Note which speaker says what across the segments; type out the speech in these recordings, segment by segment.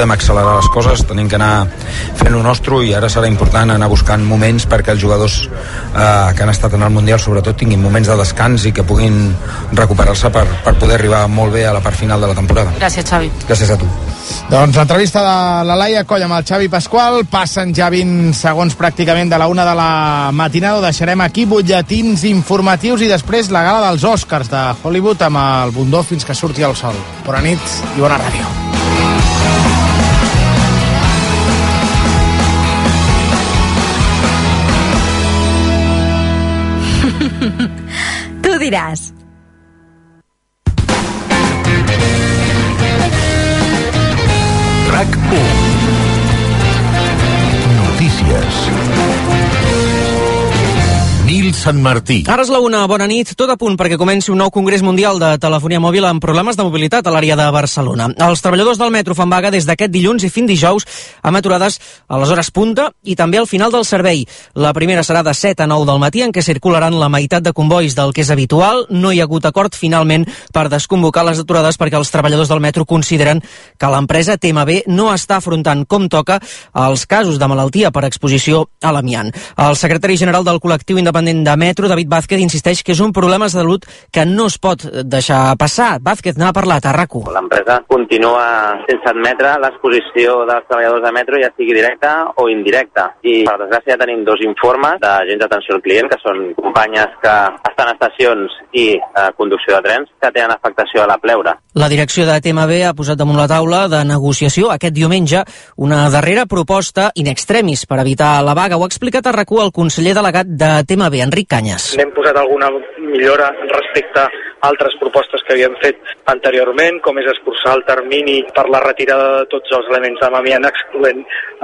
Speaker 1: hem accelerar les coses, tenim que anar fent lo nostre i ara serà important anar buscant moments perquè els jugadors eh, que han estat en el Mundial sobretot tinguin moments de descans i que puguin recuperar-se per, per poder arribar molt bé a la part final de la temporada.
Speaker 2: Gràcies, Xavi.
Speaker 1: Gràcies a tu.
Speaker 3: Doncs l'entrevista de la Laia Coll amb el Xavi Pasqual. Passen ja 20 segons pràcticament de la una de la matinada. Ho deixarem aquí, butlletins informatius i després la gala dels Oscars de Hollywood amb el bundó fins que surti el sol. Bona nit i bona ràdio.
Speaker 4: Tu diràs.
Speaker 5: RAC 1 Notícies Nil Sant Martí
Speaker 6: Ara és la una, bona nit. Tot a punt perquè comenci un nou Congrés Mundial de Telefonia Mòbil amb problemes de mobilitat a l'àrea de Barcelona. Els treballadors del metro fan vaga des d'aquest dilluns i fin dijous amb aturades a les hores punta i també al final del servei. La primera serà de 7 a 9 del matí en què circularan la meitat de convois del que és habitual. No hi ha hagut acord finalment per desconvocar les aturades perquè els treballadors del metro consideren que l'empresa TMB no està afrontant com toca els casos de malaltia per exposició a l'amiant. El secretari general del col·lectiu independent de metro, David Vázquez, insisteix que és un problema de salut que no es pot deixar passar. Vázquez n'ha parlat a RAC1.
Speaker 7: L'empresa continua sense admetre l'exposició dels treballadors de metro, ja sigui directa o indirecta. I, per desgràcia, tenim dos informes d'agents d'atenció al client, que són companyes que estan a estacions i eh, conducció de trens, que tenen afectació a la pleura.
Speaker 6: La direcció de TMB ha posat damunt la taula de negociació aquest diumenge una darrera proposta in extremis per evitar la vaga. Ho ha explicat a RAC1 el conseller delegat de TMB, Enric Canyes.
Speaker 8: N'hem posat alguna millora respecte a altres propostes que havíem fet anteriorment, com és escurçar el termini per la retirada de tots els elements de Mamian, excloent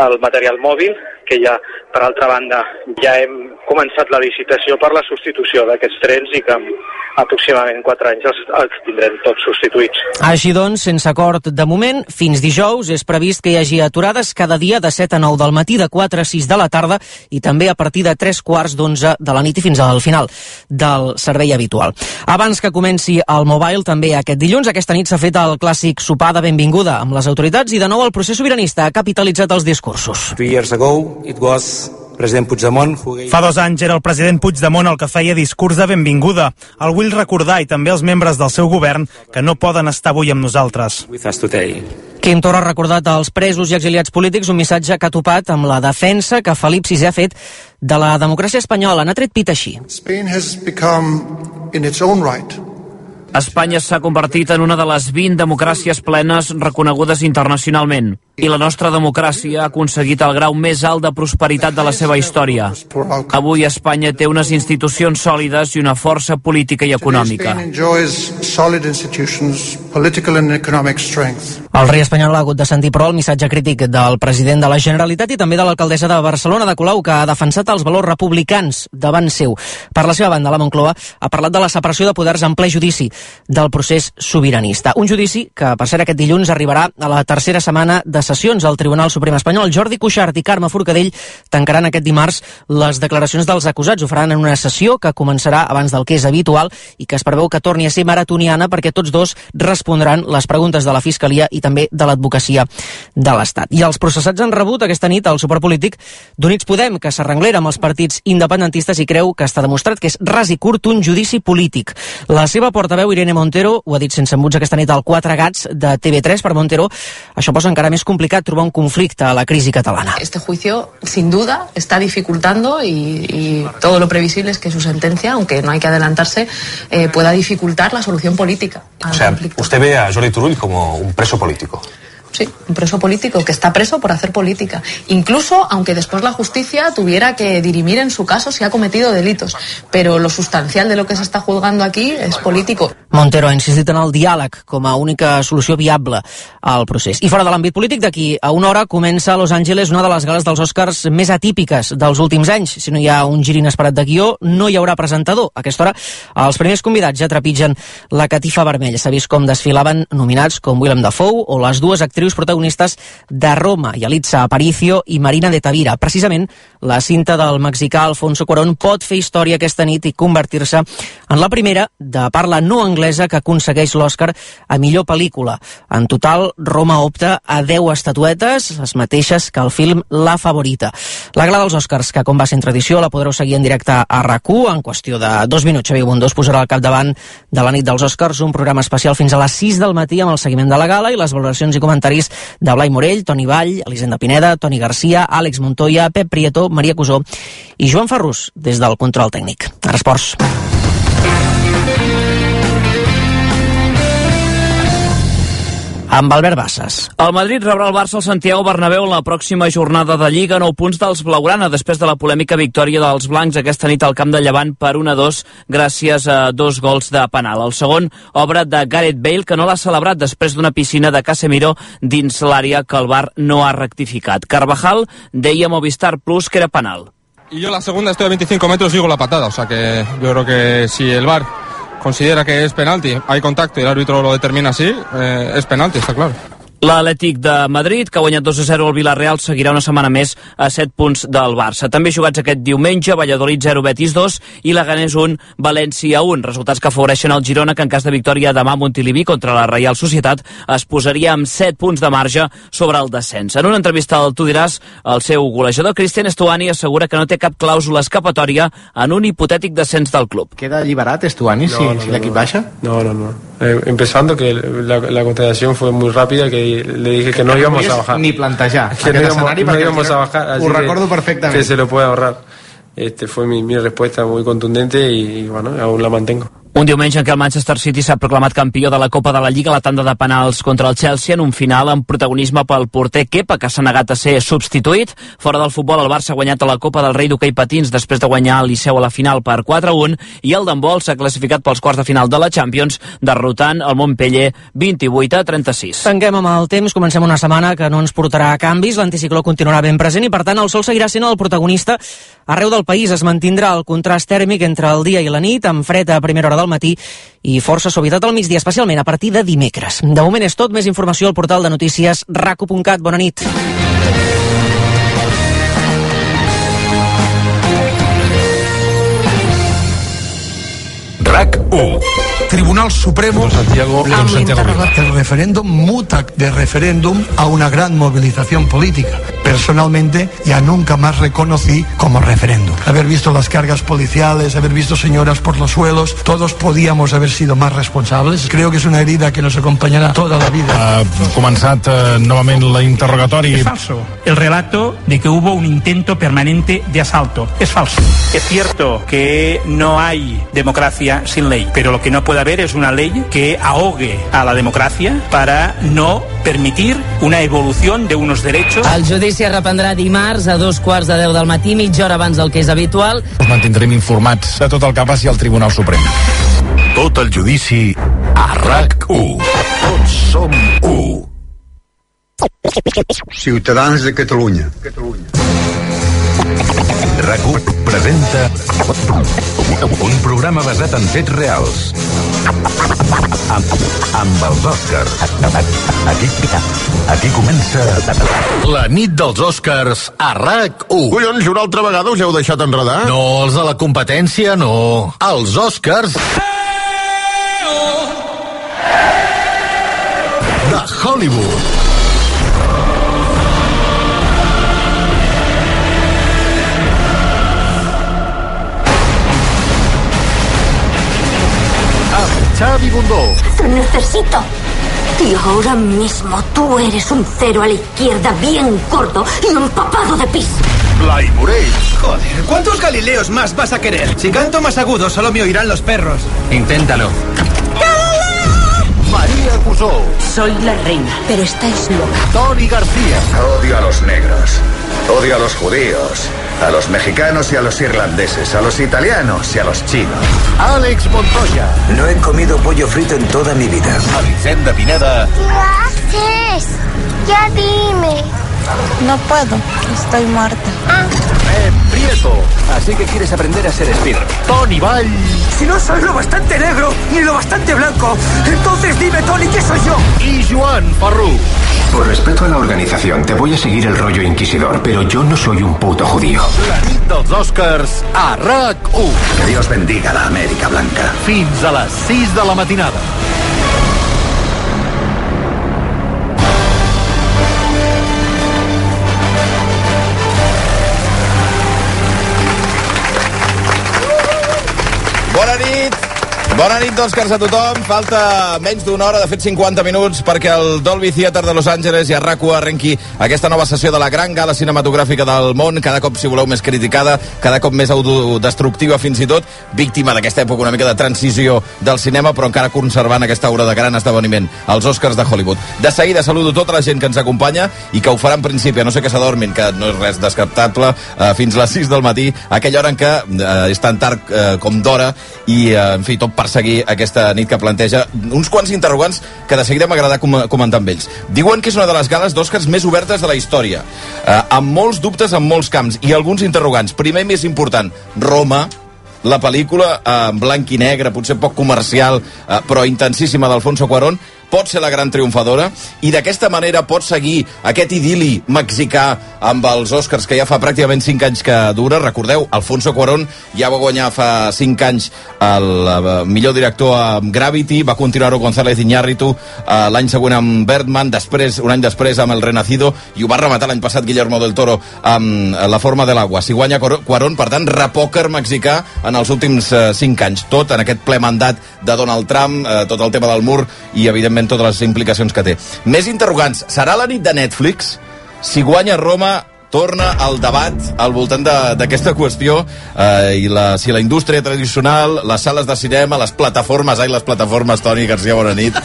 Speaker 8: el material mòbil, que ja, per altra banda, ja hem començat la licitació per la substitució d'aquests trens i que en aproximadament 4 anys els, els tindrem tots substituïts.
Speaker 6: Així doncs, sense acord de moment, fins dijous és previst que hi hagi aturades cada dia de 7 a 9 del matí, de 4 a 6 de la tarda i també a partir de 3 quarts d'11 de la nit i fins al final del servei habitual. Abans que comenci el Mobile, també aquest dilluns, aquesta nit s'ha fet el clàssic sopar de benvinguda amb les autoritats i de nou el procés sobiranista ha capitalitzat els discursos.
Speaker 9: Three years ago, it was President Puigdemont who gave...
Speaker 10: Fa dos anys era el president Puigdemont el que feia discurs de benvinguda. El vull recordar i també els membres del seu govern que no poden estar avui amb nosaltres.
Speaker 9: with us today.
Speaker 6: Quim Torra ha recordat als presos i exiliats polítics un missatge que ha topat amb la defensa que Felip VI ha fet de la democràcia espanyola. N'ha tret pit així.
Speaker 11: Spain has become, in its own right,
Speaker 12: Espanya s'ha convertit en una de les 20 democràcies plenes reconegudes internacionalment i la nostra democràcia ha aconseguit el grau més alt de prosperitat de la seva història. Avui Espanya té unes institucions sòlides i una força política i econòmica.
Speaker 11: Spain enjoys solid institutions, political and economic strength.
Speaker 6: El rei espanyol ha hagut de sentir, però, el missatge crític del president de la Generalitat i també de l'alcaldessa de Barcelona, de Colau, que ha defensat els valors republicans davant seu. Per la seva banda, la Moncloa ha parlat de la separació de poders en ple judici del procés sobiranista. Un judici que, per cert, aquest dilluns arribarà a la tercera setmana de sessions al Tribunal Suprem Espanyol. Jordi Cuixart i Carme Forcadell tancaran aquest dimarts les declaracions dels acusats. Ho faran en una sessió que començarà abans del que és habitual i que es preveu que torni a ser maratoniana perquè tots dos respondran les preguntes de la Fiscalia i també de l'advocacia de l'Estat. I els processats han rebut aquesta nit el suport polític d'Units Podem, que s'arrenglera amb els partits independentistes i creu que està demostrat que és ras i curt un judici polític. La seva portaveu, Irene Montero, ho ha dit sense embuts aquesta nit al Quatre Gats de TV3 per Montero. Això posa encara més complicat trobar un conflicte a la crisi catalana.
Speaker 13: Este juicio, sin duda, está dificultando y, y todo lo previsible es que su sentencia, aunque no hay que adelantarse, eh, pueda dificultar la solución política. al
Speaker 14: O sea,
Speaker 13: conflicto.
Speaker 14: usted ve a Jordi Turull como un preso político.
Speaker 13: Sí, un preso político que está preso por hacer política. Incluso aunque después la justicia tuviera que dirimir en su caso si ha cometido delitos. Pero lo sustancial de lo que se está juzgando aquí es político.
Speaker 6: Montero ha insistit en el diàleg com a única solució viable al procés. I fora de l'àmbit polític, d'aquí a una hora comença a Los Angeles una de les gales dels Oscars més atípiques dels últims anys. Si no hi ha un gir inesperat de guió, no hi haurà presentador. A aquesta hora, els primers convidats ja trepitgen la catifa vermella. S'ha vist com desfilaven nominats com Willem Dafoe o les dues actrius actrius protagonistes de Roma, Yalitza Aparicio i Marina de Tavira. Precisament, la cinta del mexicà Alfonso Cuarón pot fer història aquesta nit i convertir-se en la primera de parla no anglesa que aconsegueix l'Oscar a millor pel·lícula. En total, Roma opta a 10 estatuetes, les mateixes que el film La Favorita. La gala dels Oscars, que com va ser en tradició, la podreu seguir en directe a rac En qüestió de dos minuts, Xavier Bundó es posarà al capdavant de la nit dels Oscars, un programa especial fins a les 6 del matí amb el seguiment de la gala i les valoracions i comentaris de Blai Morell, Toni Vall, Elisenda Pineda, Toni Garcia, Àlex Montoya, Pep Prieto, Maria Cusó i Joan Ferrus des del control tècnic. Ara esports. amb Albert Bassas.
Speaker 12: El Madrid rebrà el Barça al Santiago Bernabéu en la pròxima jornada de Lliga, 9 punts dels Blaugrana, després de la polèmica victòria dels blancs aquesta nit al camp de Llevant per 1-2 gràcies a dos gols de penal. El segon, obra de Gareth Bale, que no l'ha celebrat després d'una piscina de Casemiro dins l'àrea que el bar no ha rectificat. Carvajal deia a Movistar Plus que era penal.
Speaker 15: Y yo la segunda estoy a 25 metros y digo la patada. O sea que yo creo que si el VAR considera que es penalti, hay contacto y el árbitro lo determina así, eh, es penalti, está claro.
Speaker 12: L'Atlètic de Madrid, que ha guanyat 2 a 0 al Villarreal, seguirà una setmana més a 7 punts del Barça. També jugats aquest diumenge, Valladolid 0, Betis 2 i Leganés 1, València 1. Resultats que afavoreixen el Girona, que en cas de victòria demà a Montilivi contra la Reial Societat es posaria amb 7 punts de marge sobre el descens. En una entrevista al Tu diràs, el seu golejador Cristian Estuani assegura que no té cap clàusula escapatòria en un hipotètic descens del club.
Speaker 4: ¿Queda liberado Estuani si,
Speaker 12: No, no,
Speaker 4: si
Speaker 12: no,
Speaker 4: el equipo baja?
Speaker 16: No, no, no. Eh, empezando que la, la contratación fue muy rápida, que le dije que no
Speaker 4: Que no
Speaker 16: íbamos
Speaker 4: volies
Speaker 16: a bajar.
Speaker 4: ni plantejar
Speaker 16: Que
Speaker 4: aquest
Speaker 16: no íbamos,
Speaker 4: escenari
Speaker 16: no
Speaker 4: perquè el
Speaker 16: íbamos a
Speaker 4: Girona-
Speaker 16: bajar. así
Speaker 4: Ho
Speaker 16: que-
Speaker 4: recordo perfectamente.
Speaker 16: Que se lo puede ahorrar. Este fue mi, mi respuesta muy contundente y, bueno, aún la mantengo.
Speaker 12: Un diumenge en què el Manchester City s'ha proclamat campió de la Copa de la Lliga a la tanda de penals contra el Chelsea en un final amb protagonisme pel porter Kepa, que s'ha negat a ser substituït. Fora del futbol, el Barça ha guanyat a la Copa del Rei d'hoquei patins després de guanyar el Liceu a la final per 4-1 i el d'handbol s'ha classificat pels quarts de final de la Champions, derrotant el Montpellier 28 a 36.
Speaker 6: Tanquem amb el temps, comencem una setmana que no ens portarà a canvis, l'anticicló continuarà ben present i per tant el sol seguirà sent el protagonista arreu del país. Es mantindrà el contrast tèrmic entre el dia i la nit, amb fred a primera hora del matí i força suavitat al migdia, especialment a partir de dimecres. De moment és tot, més informació al portal de notícies raco.cat. Bona nit.
Speaker 3: RAC 1.
Speaker 17: Tribunal Supremo
Speaker 3: León
Speaker 17: Am
Speaker 3: Santiago
Speaker 17: interroga- el referéndum muta de referéndum a una gran movilización política. Personalmente ya nunca más reconocí como referéndum. Haber visto las cargas policiales, haber visto señoras por los suelos, todos podíamos haber sido más responsables. Creo que es una herida que nos acompañará toda la vida.
Speaker 3: Començat eh, novament la interrogatori.
Speaker 9: Es falso el relato de que hubo un intento permanente de asalto. Es falso. Es cierto que no hay democracia sin ley, pero lo que no puede haber es una ley que ahogue a la democracia para no permitir una evolución de unos derechos.
Speaker 18: El judici es reprendrà dimarts a dos quarts de deu del matí, mitja hora abans del que és habitual.
Speaker 3: Us mantindrem informats de tot el que passi al Tribunal Suprem. Tot el judici a RAC1. Tots som 1.
Speaker 19: Ciutadans de Catalunya.
Speaker 3: RAC1 presenta un programa basat en fets reals. Amb, amb els Oscars. Aquí, aquí comença la nit dels Oscars a RAC1. Collons, una altra vegada us heu deixat enredar? No, els de la competència no. Els Oscars... de Hollywood. Xavi Bundó.
Speaker 20: Te necesito. Y ahora mismo tú eres un cero a la izquierda, bien gordo y empapado de pis.
Speaker 3: Blai Morell.
Speaker 21: Joder, ¿cuántos galileos más vas a querer? Si canto más agudo, solo me oirán los perros.
Speaker 3: Inténtalo. María Cusó.
Speaker 20: Soy la reina. Pero estáis loca.
Speaker 3: Tony García.
Speaker 22: Odio a los negros, odio a los judíos, a los mexicanos y a los irlandeses, a los italianos y a los chinos.
Speaker 3: Àlex Montoya.
Speaker 22: No he comido pollo frito en toda mi vida.
Speaker 3: Elisenda Pineda.
Speaker 20: ¿Qué haces? Ya dime. No puedo, estoy muerta.
Speaker 3: Pep Eh, Prieto. Así que quieres aprender a ser Spider. Tony Vall.
Speaker 21: Si no soy lo bastante negro ni lo bastante blanco, entonces dime, Tony, ¿qué soy yo?
Speaker 3: I Joan Ferrú.
Speaker 23: Por respeto a la organización, te voy a seguir el rollo inquisidor, pero yo no soy un puto judío.
Speaker 8: Dels Oscars a RAC1.
Speaker 23: Que Dios bendiga a la América Blanca.
Speaker 8: Fins a les 6 de la matinada.
Speaker 22: Bona nit! Bona nit, d'Òscars, a tothom. Falta menys d'una hora, de fet 50 minuts, perquè el Dolby Theater de Los Angeles i a RAC1 arrenqui aquesta nova sessió de la gran gala cinematogràfica del món, cada cop, si voleu, més criticada, cada cop més autodestructiva fins i tot, víctima d'aquesta època una mica de transició del cinema, però encara conservant aquesta aura de gran esdeveniment, els Oscars de Hollywood. De seguida saludo tota la gent que ens acompanya i que ho farà en principi, a no sé que s'adormin, que eh, no és res descartable, eh, fins a les 6 del matí, aquella hora en què eh, és tan tard eh, com d'hora, i, eh, en fi, tot per seguir aquesta nit que planteja uns quants interrogants que de seguida m'agrada com comentar amb ells. Diuen que és una de les gales d'Òscars més obertes de la història, eh, amb molts dubtes en molts camps i alguns interrogants. Primer i més important, Roma, la pel·lícula eh, en blanc i negre, potser poc comercial, eh, però intensíssima d'Alfonso Cuarón, pot ser la gran triomfadora i d'aquesta manera pot seguir aquest idili mexicà amb els Oscars que ja fa pràcticament 5 anys que dura. Recordeu, Alfonso Cuarón ja va guanyar fa 5 anys el eh, millor director amb Gravity, va continuar-ho González Iñárritu eh, l'any següent amb Birdman, després, un any després amb El Renacido i ho va rematar l'any passat Guillermo del Toro amb eh, La forma de l'aigua. Si guanya Cuarón, per tant, repòquer mexicà en els últims eh, 5 anys. Tot en aquest ple mandat de Donald Trump, eh, tot el tema del mur i, evidentment, evidentment, totes les implicacions que té. Més interrogants. Serà la nit de Netflix? Si guanya Roma, torna al debat al voltant de- d'aquesta qüestió eh, i la, si la indústria tradicional, les sales de cinema, les plataformes... Ai, les plataformes, Toni Garcia, bona nit.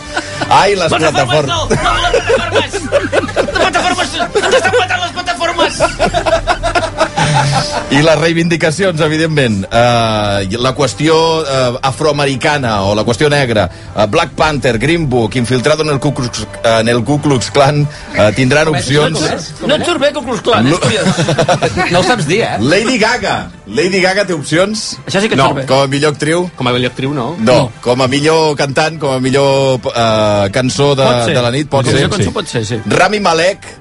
Speaker 22: Ai, les plataformes...
Speaker 21: No, no, plataformes! Ens estan matant les plataformes!
Speaker 22: I les reivindicacions, evidentment. Uh, la qüestió uh, afroamericana o la qüestió negra, uh, Black Panther, Green Book, infiltrado en el Ku Klux, en el Ku Klux Klan, uh, tindran opcions...
Speaker 21: No et surt bé com us clar, és curiós.
Speaker 22: No ho saps dir, eh? Lady Gaga. Lady Gaga té opcions? Això
Speaker 21: sí que et
Speaker 22: no,
Speaker 21: surt bé.
Speaker 22: com a millor actriu... Com a millor actriu, no. No, com a millor cantant, com a millor uh, cançó de,
Speaker 21: Pot ser.
Speaker 22: de la nit, pot
Speaker 21: Com a
Speaker 22: ser.
Speaker 21: millor cançó pot ser, sí.
Speaker 22: Rami Malek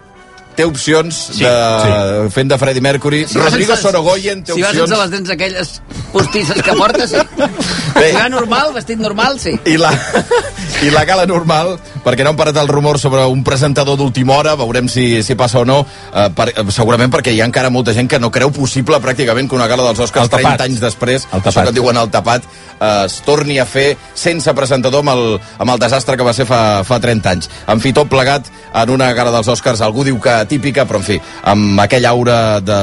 Speaker 22: té opcions sí, de... sí. fent de Freddie Mercury.
Speaker 21: Si vas
Speaker 22: Rodrigo
Speaker 21: sense-
Speaker 22: Sorogoyen té
Speaker 21: Si vas
Speaker 22: opcions.
Speaker 21: sense les dents aquelles postisses que portes, sí. Si va normal, vestit normal, sí.
Speaker 22: I la, I la gala normal, perquè no han parat el rumor sobre un presentador d'última hora, veurem si, si passa o no, eh, per, eh, segurament perquè hi ha encara molta gent que no creu possible pràcticament que una gala dels Oscars 30 anys després, això que diuen el tapat, eh, es torni a fer sense presentador amb el, amb el desastre que va ser fa, fa 30 anys. En fi, tot plegat en una gala dels Oscars, algú diu que típica, però en fi, amb aquella aura de,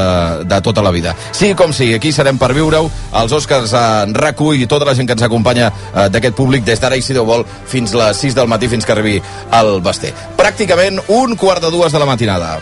Speaker 22: de tota la vida. Sí, com sigui, aquí serem per viure-ho, els Oscars en rac i tota la gent que ens acompanya eh, d'aquest públic des d'ara i si Déu vol fins les 6 del matí fins que arribi el Basté. Pràcticament un quart de dues de la matinada.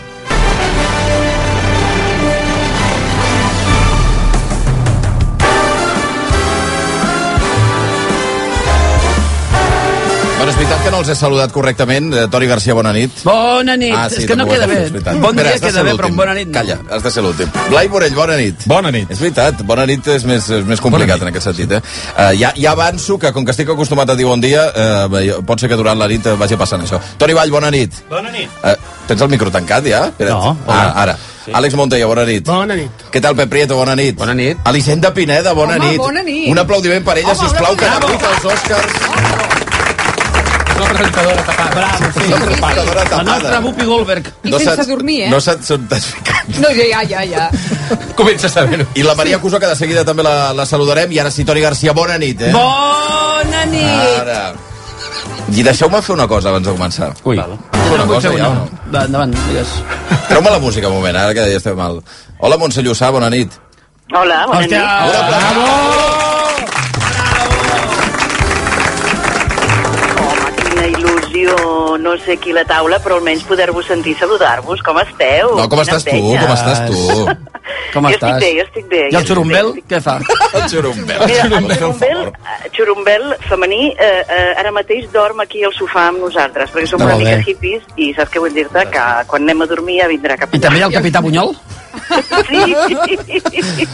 Speaker 22: Bueno, és veritat que no els he saludat correctament. Eh, Toni Garcia, bona nit. Ah,
Speaker 21: Bona nit. És que no
Speaker 22: també ho
Speaker 21: queda
Speaker 22: has de fer,
Speaker 21: bé.
Speaker 22: és veritat.
Speaker 21: Bon dia
Speaker 22: has de
Speaker 21: queda
Speaker 22: ser
Speaker 21: bé,
Speaker 22: l'últim.
Speaker 21: però bona nit no.
Speaker 22: Calla, has de ser l'últim. Blai Borell, bona nit. Bona nit. És veritat, bona nit és més, és més complicat en aquest sentit. Eh? Uh, ja, ja avanço que, com que estic acostumat a dir bon dia, uh, pot ser que durant la nit eh, vagi passant això. Toni Vall, bona nit.
Speaker 24: Bona nit.
Speaker 22: Uh, tens el micro tancat, ja? Espera't.
Speaker 24: No, hola.
Speaker 22: Ah, ara. Sí. Àlex Montoya, bona nit.
Speaker 24: Bona nit.
Speaker 22: Què tal, Pep Prieto? Bona nit. Bona nit. Elisenda Pineda, bona
Speaker 24: Home,
Speaker 22: nit.
Speaker 24: bona nit.
Speaker 22: Un aplaudiment per ella,
Speaker 24: Home,
Speaker 22: Home, sisplau, que n'ha
Speaker 24: bravo.
Speaker 22: vuit als Oscars.
Speaker 21: Una presentadora tapada. Bravo, sí.
Speaker 22: Una presentadora
Speaker 21: La
Speaker 22: tapada.
Speaker 21: nostra Whoopi Goldberg.
Speaker 25: I sense dormir, eh?
Speaker 22: No se't surt
Speaker 25: No, ja, ja, ja, ja.
Speaker 22: Comença a saber-ho. I la Maria Cusó, que de seguida també la, la saludarem. I ara sí, Toni Garcia, bona nit. Eh?
Speaker 25: Bona
Speaker 22: Ara. I deixeu-me fer una cosa abans de començar. Ui. Una cosa ja, o no?
Speaker 21: Va, endavant, digues.
Speaker 22: Treu-me la música un moment, ara que ja estem mal. Hola, Montse Llussà, bona nit.
Speaker 26: Hola, bona
Speaker 22: Hòstia,
Speaker 26: nit.
Speaker 22: Hola, bravo!
Speaker 26: Home, quina il·lusió. No sé qui la taula, però almenys poder-vos sentir i saludar-vos. Com esteu?
Speaker 22: No, com estàs tu? Com estàs tu?
Speaker 21: Com
Speaker 26: Oh, jo
Speaker 21: estàs?
Speaker 26: estic bé, jo estic bé.
Speaker 21: I el xurumbel, què fa?
Speaker 22: El xurumbel.
Speaker 26: Mira, el xurumbel, eh, xurumbel femení eh, eh, ara mateix dorm aquí al sofà amb nosaltres, perquè som
Speaker 22: Ah,
Speaker 21: Molt
Speaker 26: una mica
Speaker 21: bé.
Speaker 26: hippies i saps què vull dir-te? Que quan anem a dormir ja vindrà cap
Speaker 21: I també hi ha el capità Bunyol?
Speaker 26: Sí.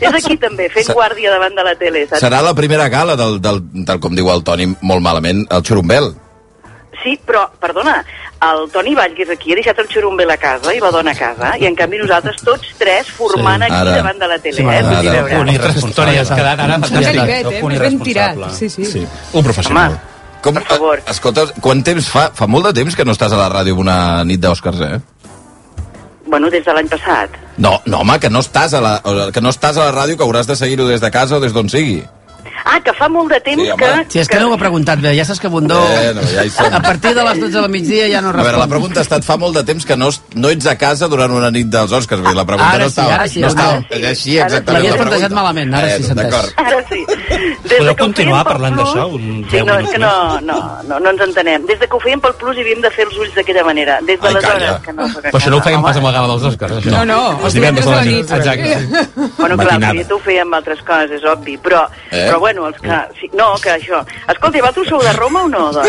Speaker 26: És aquí també, fent
Speaker 22: Sa-
Speaker 26: guàrdia davant de la tele, saps?
Speaker 22: Serà la primera gala del, del, del com diu el Toni molt malament, el xurumbel.
Speaker 26: sí, però, perdona, el Toni Vall, que és aquí, ha deixat el xurumbe a la casa i la dona a casa, i en canvi nosaltres tots tres formant
Speaker 22: Sí.
Speaker 26: aquí
Speaker 22: Ara.
Speaker 26: davant de la tele,
Speaker 22: Sí,
Speaker 26: eh?
Speaker 22: ara.
Speaker 26: Vull dir,
Speaker 22: Ara.
Speaker 26: veure.
Speaker 22: Un irresponsable. Toni, has quedat ara fantàstic.
Speaker 25: Ganivet, eh?
Speaker 22: Un
Speaker 25: Més ben tirat.
Speaker 22: irresponsable.
Speaker 25: Sí, sí. sí.
Speaker 22: Un professional. Home. Com, favor. Escolta, quant temps fa? Fa molt de temps que no estàs a la ràdio amb una nit d'Òscars, eh?
Speaker 26: Bueno, des de l'any passat.
Speaker 22: No, no, home, que no estàs a la, o que no estàs a la ràdio, que hauràs de seguir-ho des de casa o des d'on sigui.
Speaker 26: Ah, que fa molt de temps
Speaker 22: Sí, home.
Speaker 26: que...
Speaker 21: Si és que no ho ha preguntat bé, ja saps que Bundó...
Speaker 22: Bueno, Eh, ja hi som.
Speaker 21: A partir de les 12 del migdia ja no
Speaker 22: A
Speaker 21: respon.
Speaker 22: veure, la pregunta ha estat fa molt de temps que no, es- no ets a casa durant una nit dels Oscars. Vull dir, la pregunta
Speaker 21: Ara
Speaker 22: no
Speaker 21: sí,
Speaker 22: estava.
Speaker 21: ara sí,
Speaker 22: no
Speaker 21: ara
Speaker 22: estava.
Speaker 21: sí.
Speaker 22: És així,
Speaker 21: M'havies
Speaker 22: exactament. la pregunta.
Speaker 21: plantejat malament, ara sí,
Speaker 22: Bueno,
Speaker 21: s'entès.
Speaker 22: D'acord.
Speaker 26: Ara sí. Des
Speaker 7: Podeu
Speaker 26: que ho
Speaker 7: continuar
Speaker 26: fèiem pel
Speaker 7: parlant
Speaker 26: Plus-
Speaker 7: d'això un
Speaker 26: Sí,
Speaker 7: 10
Speaker 26: no, és
Speaker 7: minuts
Speaker 26: que no, no, no, no ens entenem. Des de que ho fèiem pel Plus hi havíem de fer els ulls d'aquella manera. Des de
Speaker 7: Ai,
Speaker 26: les
Speaker 7: calla.
Speaker 26: hores que no...
Speaker 7: Però això no ho feien pas amb la gala dels Oscars, això.
Speaker 26: No, no,
Speaker 7: Els divendres a la nit. Exacte.
Speaker 26: Exacte. Bueno, clar,
Speaker 7: Matinada.
Speaker 26: perquè tu ho feia amb altres coses, és obvi, però,
Speaker 7: Eh?
Speaker 26: eh? però bueno, els que... Sí, no, que això... Escolta, i vosaltres sou de Roma o no, doncs?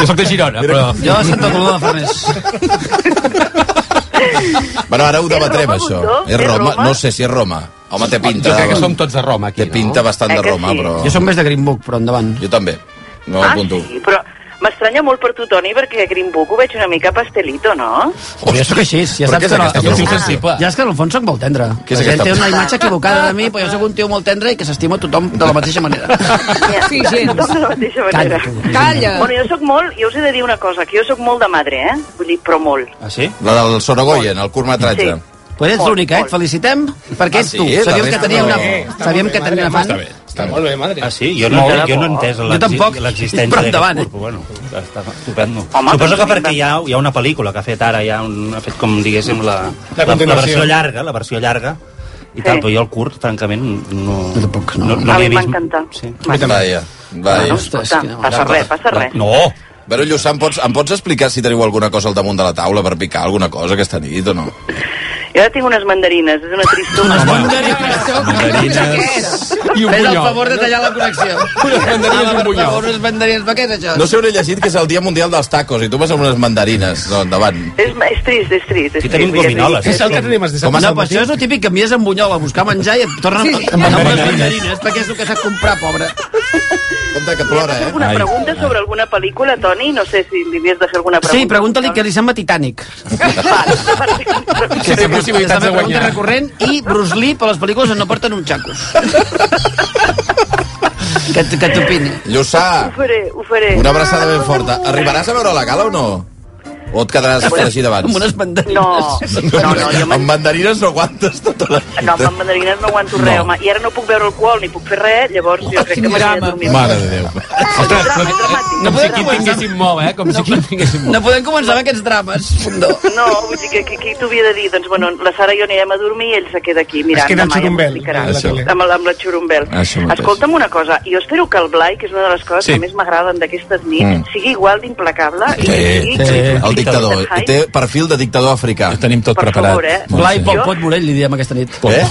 Speaker 7: Jo soc de Girona, però...
Speaker 21: Jo de Santa Coloma de Farners.
Speaker 22: Bueno, ara ho
Speaker 26: És
Speaker 22: debatrem,
Speaker 26: Roma,
Speaker 22: això.
Speaker 26: Bundó?
Speaker 22: És
Speaker 26: És
Speaker 22: Roma?
Speaker 26: Roma?
Speaker 22: No sé si és Roma. Home, té pinta...
Speaker 21: Jo crec que som
Speaker 22: tots de Roma, aquí, Té pinta bastant
Speaker 26: Eh
Speaker 22: de
Speaker 26: que
Speaker 22: Roma,
Speaker 26: sí?
Speaker 22: però...
Speaker 21: Jo som més de Greenbook, però endavant.
Speaker 22: Jo també. No
Speaker 26: Ah,
Speaker 22: apunto.
Speaker 26: sí, però m'estranya molt per tu, Toni, perquè a Green Book ho veig una mica pastelito, no?
Speaker 21: Però jo sóc així, ja
Speaker 22: Però
Speaker 21: saps
Speaker 22: què és
Speaker 21: que no,
Speaker 22: aquesta
Speaker 21: jo,
Speaker 22: broma?
Speaker 21: sensible. ja és que en el fons sóc molt tendre.
Speaker 22: Què és
Speaker 21: la gent
Speaker 22: aquesta
Speaker 21: té una
Speaker 22: broma?
Speaker 21: imatge equivocada de mi, però jo sóc un tio molt tendre i que s'estima a tothom de la mateixa manera.
Speaker 26: Sí, gens. Tothom de la mateixa manera.
Speaker 21: Calla.
Speaker 26: Calla. Bueno, jo sóc molt, jo us he de dir una cosa, que jo sóc molt de madre, eh? Vull dir, però molt.
Speaker 22: Ah, sí? La del Sorogoyen, el curtmetratge.
Speaker 26: Sí.
Speaker 21: Però ets
Speaker 26: Molt,
Speaker 21: l'única, eh? Et felicitem, perquè
Speaker 22: Ah,
Speaker 21: ets
Speaker 22: sí?
Speaker 21: tu.
Speaker 22: La
Speaker 21: Sabíem que
Speaker 22: resta
Speaker 21: tenia
Speaker 22: no.
Speaker 21: una,
Speaker 22: Eh, està
Speaker 21: sabíem
Speaker 22: molt
Speaker 21: que
Speaker 22: bé,
Speaker 21: tenia una fan.
Speaker 22: Està bé, està molt bé, madre.
Speaker 7: Ah, sí? Jo no,
Speaker 21: Molt.
Speaker 7: jo no he entès
Speaker 21: Jo tampoc.
Speaker 7: l'exi- l'existència
Speaker 21: Però
Speaker 7: d'aquest
Speaker 21: endavant,
Speaker 7: curt,
Speaker 21: eh?
Speaker 7: però bueno, està estupendo.
Speaker 21: Home, doncs
Speaker 7: Suposo
Speaker 21: però
Speaker 7: que perquè hi ha, hi ha una pel·lícula que ha fet ara, hi ha, un, ha fet com, diguéssim, la,
Speaker 21: La
Speaker 7: la, la
Speaker 21: continuació.
Speaker 7: versió llarga, la versió llarga, i tal, però jo el curt, francament, no... No, tampoc, no.
Speaker 26: a
Speaker 7: l'he
Speaker 26: mi
Speaker 7: vist.
Speaker 26: m'encanta. Sí.
Speaker 22: Vaja, vaja.
Speaker 26: Bueno, escolta, passa res, passa res.
Speaker 22: No! Però, Lluçà, em pots, em pots explicar si teniu alguna cosa al damunt de la taula per picar alguna cosa aquesta nit o no?
Speaker 21: Doncs-
Speaker 26: Jo ara tinc unes mandarines, és una tristor. Unes
Speaker 22: mandarines.
Speaker 21: I
Speaker 22: un
Speaker 21: Fes el
Speaker 22: bunyol.
Speaker 21: favor de tallar la connexió.
Speaker 22: Unes mandarines i un
Speaker 21: Ah, per
Speaker 22: bunyol.
Speaker 21: favor, Unes mandarines, però què és això?
Speaker 22: No sé on he llegit que és el Dia Mundial dels Tacos i tu vas amb unes mandarines. No, endavant.
Speaker 26: És, és trist, és trist. És trist.
Speaker 21: eh? Com no, però això és el típic que envies amb bunyola a buscar menjar i et tornen sí, amb, amb les mandarines, perquè és el que s'ha comprat, pobre.
Speaker 22: Compte que eh?
Speaker 21: plora,
Speaker 26: Alguna pregunta sobre alguna pel·lícula, Toni? No sé si li havies de fer alguna pregunta.
Speaker 21: Sí, pregunta-li què li sembla Titanic.
Speaker 26: Que
Speaker 21: té possibilitats de guanyar. recorrent i Bruce Lee per les pel·lícules on no porten un xacos. que t- que t'opini.
Speaker 22: Lluçà,
Speaker 26: Ho faré, ho faré.
Speaker 22: una abraçada
Speaker 21: Eh,
Speaker 22: ben forta. Arribaràs a veure la gala o no? O et quedaràs fregida abans?
Speaker 26: Amb unes
Speaker 21: mandarines.
Speaker 26: No, no, no, jo
Speaker 22: amb mandarines no aguantes tota la nit.
Speaker 26: No, amb mandarines no aguanto res,
Speaker 22: No.
Speaker 26: home. I ara no puc beure alcohol ni puc fer res, llavors jo crec que m'he de dormir.
Speaker 22: Mare de Déu.
Speaker 7: Ostres, com, com si aquí en tinguéssim molt, eh? Com si aquí en tinguéssim molt.
Speaker 21: No podem començar amb aquests drames. No,
Speaker 26: no vull dir que aquí, aquí t'ho havia de dir, doncs, bueno, la Sara i jo anirem a dormir i ell se queda aquí mirant.
Speaker 16: queda el
Speaker 26: demà ja
Speaker 16: xurumbel,
Speaker 26: m'explicarà.
Speaker 16: a la tele.
Speaker 26: Amb, la- amb la xurumbel.
Speaker 16: Això mateix.
Speaker 26: Escolta'm una cosa, jo espero que el Blai, que és una de les coses
Speaker 22: Sí.
Speaker 26: que més m'agraden d'aquestes nits,
Speaker 22: Mm.
Speaker 26: sigui igual d'implacable i que
Speaker 22: Sí,
Speaker 26: sigui...
Speaker 22: sí, eh? el dictador. Té perfil de dictador africà. Ho tenim tot
Speaker 26: Per preparat. favor, eh?
Speaker 21: Blai Pol Pot Morell, li diem aquesta nit.
Speaker 22: Eh?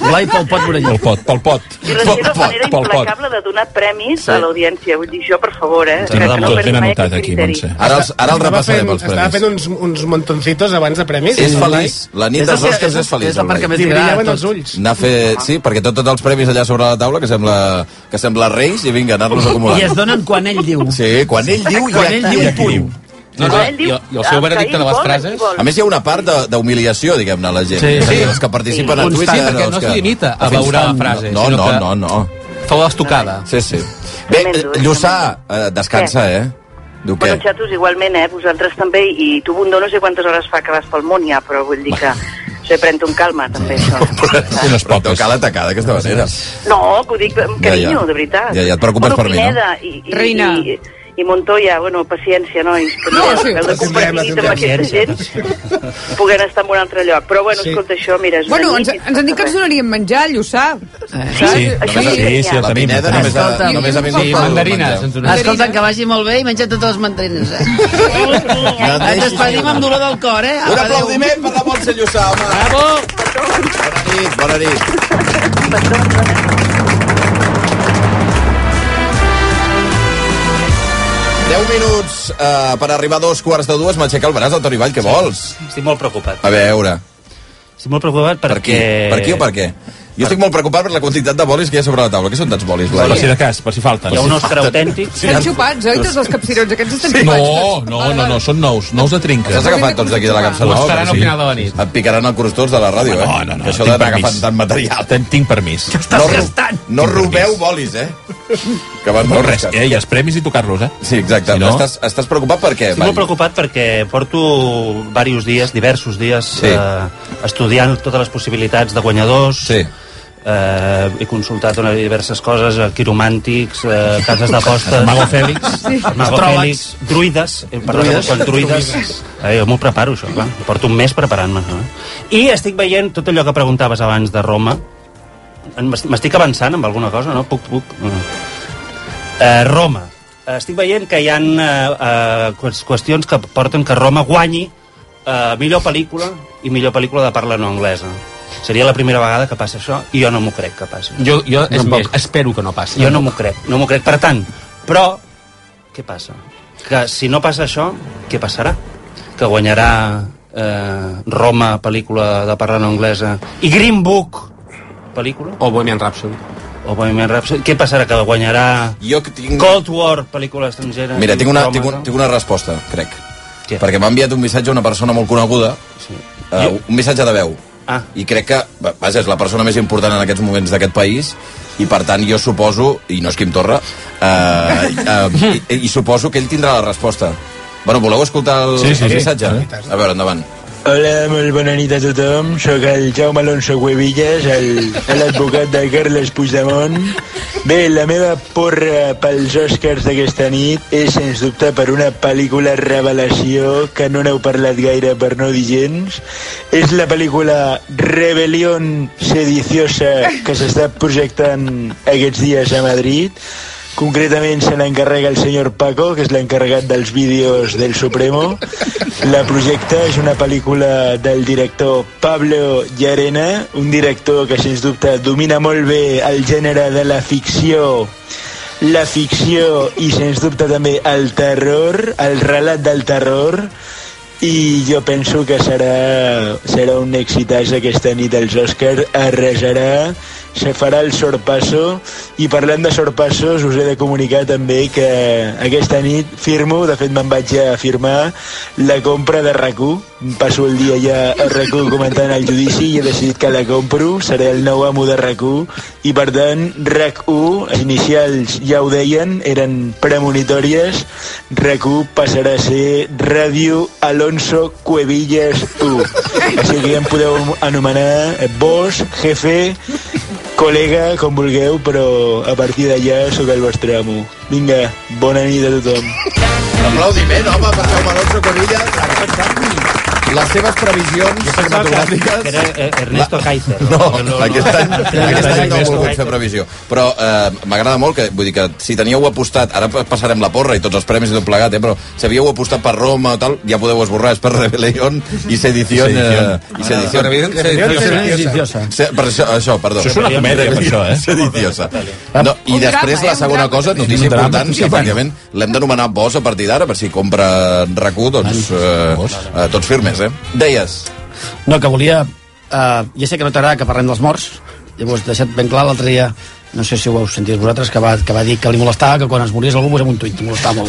Speaker 21: Blai Pol Pot Morell. Pol
Speaker 22: Pot, Pol Pot.
Speaker 26: I la seva manera implacable de donar premis a l'audiència. Vull dir, això, per favor, eh? Que, que no perdi mai aquest criteri.
Speaker 22: Ara els, ara els
Speaker 16: Estava
Speaker 22: repassaré
Speaker 16: fent-
Speaker 22: pels
Speaker 16: Estava
Speaker 22: premis.
Speaker 16: fent uns, uns montoncitos abans de premis.
Speaker 22: És feliç. La nit dels Oscars és feliç. el noi.
Speaker 16: Li brillaven els ulls.
Speaker 22: Anar a fer... Sí, perquè tot, tots els premis allà sobre la taula, que sembla, que sembla reis, i vinga, anar-los
Speaker 21: I es
Speaker 22: acumulant.
Speaker 21: donen quan ell diu.
Speaker 22: Sí, quan ell diu,
Speaker 21: Quan
Speaker 22: ja-
Speaker 21: ell diu,
Speaker 22: ja
Speaker 21: un punt.
Speaker 22: No, no,
Speaker 21: Quan ell
Speaker 22: i-
Speaker 21: diu,
Speaker 22: i el seu
Speaker 21: el
Speaker 22: veredicte
Speaker 21: que
Speaker 22: de
Speaker 21: ell
Speaker 22: les
Speaker 21: vol,
Speaker 22: frases?
Speaker 21: ell vol.
Speaker 22: A més, hi ha una part de- d'humiliació, diguem-ne, a la gent.
Speaker 7: Sí.
Speaker 22: És a dir,
Speaker 7: Sí.
Speaker 22: Els que
Speaker 7: Sí.
Speaker 22: participen a Twitter...
Speaker 7: Constant, perquè
Speaker 22: els
Speaker 7: no es
Speaker 22: que-
Speaker 7: limita a
Speaker 22: fins
Speaker 7: veure la
Speaker 22: tant.
Speaker 7: frase,
Speaker 22: No,
Speaker 7: sinó
Speaker 22: no,
Speaker 7: que-
Speaker 22: no, no.
Speaker 7: Fa l'estocada.
Speaker 22: Sí, sí. Bé, eh, Lluçà, eh, descansa, eh? Diu
Speaker 26: Bueno,
Speaker 22: què?
Speaker 26: xatos, igualment, eh? Vosaltres també, i tu, Bundó, no sé quantes hores fa que vas pel món ja, però vull dir que... Se pren-te un calma, també, això.
Speaker 22: Unes poques. Però cal atacar d'aquesta manera.
Speaker 26: No, que ho dic amb carinyo,
Speaker 22: Ja, ja.
Speaker 26: de veritat.
Speaker 22: Ja, ja, et preocupes
Speaker 26: bueno,
Speaker 22: per mi, no?
Speaker 26: Pineda I, i,
Speaker 25: Reina.
Speaker 26: I, i Montoya, bueno, paciència, nois, que no, sí, heu de compartir
Speaker 25: tindrem,
Speaker 26: amb aquesta gent puguen estar en un altre lloc. Però, bueno, sí. escolta, això, mira... és una
Speaker 25: Bueno, ens,
Speaker 26: nit i
Speaker 25: ens han dit que ens donaríem menjar, Lluçà.
Speaker 22: Sí, Eh, sí,
Speaker 26: Això
Speaker 22: només,
Speaker 26: sí,
Speaker 22: sí,
Speaker 26: sí,
Speaker 22: sí,
Speaker 26: el
Speaker 22: la
Speaker 26: tenim,
Speaker 22: Pineda
Speaker 26: el
Speaker 22: només ha,
Speaker 26: tenim.
Speaker 22: només ha vingut
Speaker 26: Sí,
Speaker 22: pel
Speaker 7: mandarines,
Speaker 22: menjar.
Speaker 7: ens
Speaker 21: Escolta, que vagi molt bé i menja totes les mandarines. Eh? Ens despedim amb dolor del cor, eh?
Speaker 22: Un aplaudiment per la Montse Lluçà, home.
Speaker 21: Bravo!
Speaker 22: Bona nit, bona nit. Deu minuts eh, per arribar a dos quarts de dues. M'aixeca el braç, el Toni Vall, què vols?
Speaker 7: Estic molt preocupat.
Speaker 22: A veure,
Speaker 7: Estic molt preocupat perquè...
Speaker 22: per qui o per què? Jo estic molt preocupat per la quantitat de bolis que hi ha sobre la taula. Què són tants bolis? Blai?
Speaker 4: Per si de cas, per si falten.
Speaker 22: Hi ha un ostre autèntic.
Speaker 25: Estan xupats, oi, tots els capcirots aquests estan xupats?
Speaker 4: Oh, No, no, no, no, són nous, nous de trinca.
Speaker 22: Els has agafat tots d'aquí de la capçaló?
Speaker 4: Ho estaran al final de la nit.
Speaker 22: Et picaran el crostós de la ràdio, eh? No, no, no. Que això
Speaker 4: tinc
Speaker 22: d'anar
Speaker 4: permís.
Speaker 22: agafant tant material.
Speaker 4: Ten, tinc permís.
Speaker 22: No, ro- no robeu bolis, eh? Que van
Speaker 4: No, res, eh, i els premis i tocar-los, eh?
Speaker 22: Sí, exacte.
Speaker 4: Si no-
Speaker 22: Estàs, estàs preocupat per què?
Speaker 7: Estic molt preocupat perquè porto diversos dies, diversos dies,
Speaker 22: Sí.
Speaker 7: eh, estudiant totes les possibilitats de guanyadors. Sí. Eh, he consultat una, diverses coses, eh, quiromàntics, eh, cases d'apostes...
Speaker 4: El Mago Fèlix.
Speaker 7: Sí. Mago
Speaker 4: Astròlegs.
Speaker 7: Fèlix, druides. Hem parlat
Speaker 4: Druides.
Speaker 7: druides. amb druides. Eh, jo m'ho preparo, això, clar. Porto un mes preparant-me. No? I estic veient tot allò que preguntaves abans de Roma. En- M'estic avançant amb alguna cosa, no? Puc, puc. No. Eh, Roma. Eh, Estic veient que hi ha eh, eh, qües- qüestions que porten que Roma guanyi eh, millor pel·lícula i millor pel·lícula de parla no anglesa. Seria la primera vegada que passa això i jo no m'ho crec que passi.
Speaker 4: Jo, jo és
Speaker 7: Tampoc.
Speaker 4: més, espero que no passi.
Speaker 7: Jo no m'ho crec, no m'ho crec. Per tant, però, què passa? Que si no passa això, què passarà? Que guanyarà eh, Roma, pel·lícula de parla no anglesa, i Green Book, pel·lícula? O Bohemian Rhapsody. O Bohemian Rhapsody. Què passarà? Que guanyarà
Speaker 22: jo tinc...
Speaker 7: Cold War, pel·lícula estrangera?
Speaker 22: Mira,
Speaker 7: i
Speaker 22: tinc una,
Speaker 7: Roma,
Speaker 22: tinc, un,
Speaker 7: no?
Speaker 22: tinc una resposta, crec. Què? Perquè m'ha enviat un missatge una persona molt coneguda, sí. uh, un missatge de veu.
Speaker 7: Ah.
Speaker 22: I crec que, va- vaja, és la persona més important en aquests moments d'aquest país, i per tant jo suposo, i no és Quim Torra, uh, uh, i, i suposo que ell tindrà la resposta. Bueno, voleu escoltar el,
Speaker 27: Sí, sí,
Speaker 22: el
Speaker 27: sí.
Speaker 22: missatge?
Speaker 27: Sí,
Speaker 22: A veure, endavant.
Speaker 27: Hola, molt bona nit a tothom. Sóc el Jaume Alonso Cuevillas, el- l'advocat de Carles Puigdemont. Bé, la meva porra pels Oscars d'aquesta nit és, sens dubte, per una pel·lícula revelació que no n'heu parlat gaire per no dir gens. És la pel·lícula Rebelión Sediciosa que s'està projectant aquests dies a Madrid. Concretament se n'encarrega el senyor Paco, que és l'encarregat dels vídeos del Supremo. La projecta és una pel·lícula del director Pablo Llarena, un director que, sens dubte, domina molt bé el gènere de la ficció la ficció i, sens dubte, també el terror, el relat del terror, i jo penso que serà, serà un exitàs aquesta nit als Òscar, arrasarà, se farà el sorpasso, i parlant de sorpassos us he de comunicar també que aquesta nit firmo, de fet me'n vaig a firmar, la compra de rac passo el dia ja a rac comentant el judici i he decidit que la compro, seré el nou amo de rac i per tant RAC1, els inicials ja ho deien, eren premonitòries, RAC1 passarà a ser Ràdio Alonso Cuevillas 1. Així que ja em podeu anomenar vos, jefe, col·lega, com vulgueu, però a partir d'allà sóc el vostre amo. Vinga, bona nit a tothom.
Speaker 22: Aplaudiment, home, per Jaume Alonso Corilla. Les seves previsions cinematogràfiques...
Speaker 7: Era eh, Ernesto Kaiser.
Speaker 22: No, aquest any, aquest any no he volgut fer previsió. Però eh, m'agrada molt que, vull dir que si teníeu apostat, ara pa- passarem la porra i tots els premis i tot plegat, eh, però si havíeu apostat per Roma o tal, ja podeu esborrar, és per Rebellion i Sedició. Eh,
Speaker 4: Ah,
Speaker 22: i sedició.
Speaker 2: Rebelión Sediciosa.
Speaker 22: Se, per això, això, perdó.
Speaker 4: Això és una comèdia, per això, eh?
Speaker 22: Sediciosa. No, I
Speaker 4: Un
Speaker 22: després
Speaker 4: drama, eh?
Speaker 22: la
Speaker 4: Un
Speaker 22: segona
Speaker 4: drama.
Speaker 22: cosa, notícia
Speaker 4: Un drama,
Speaker 22: important,
Speaker 4: notícia
Speaker 22: que efectivament l'hem d'anomenar vos a partir d'ara, per si compra RAC1, doncs eh, eh, tots firmes, eh? Deies.
Speaker 21: No, que volia... Uh, ja sé que no t'agrada que parlem dels morts, llavors deixat ben clar l'altre dia no sé si ho heu sentit vosaltres, que va, que va dir que li molestava que quan es mories algú posem un tuit, li molestava molt.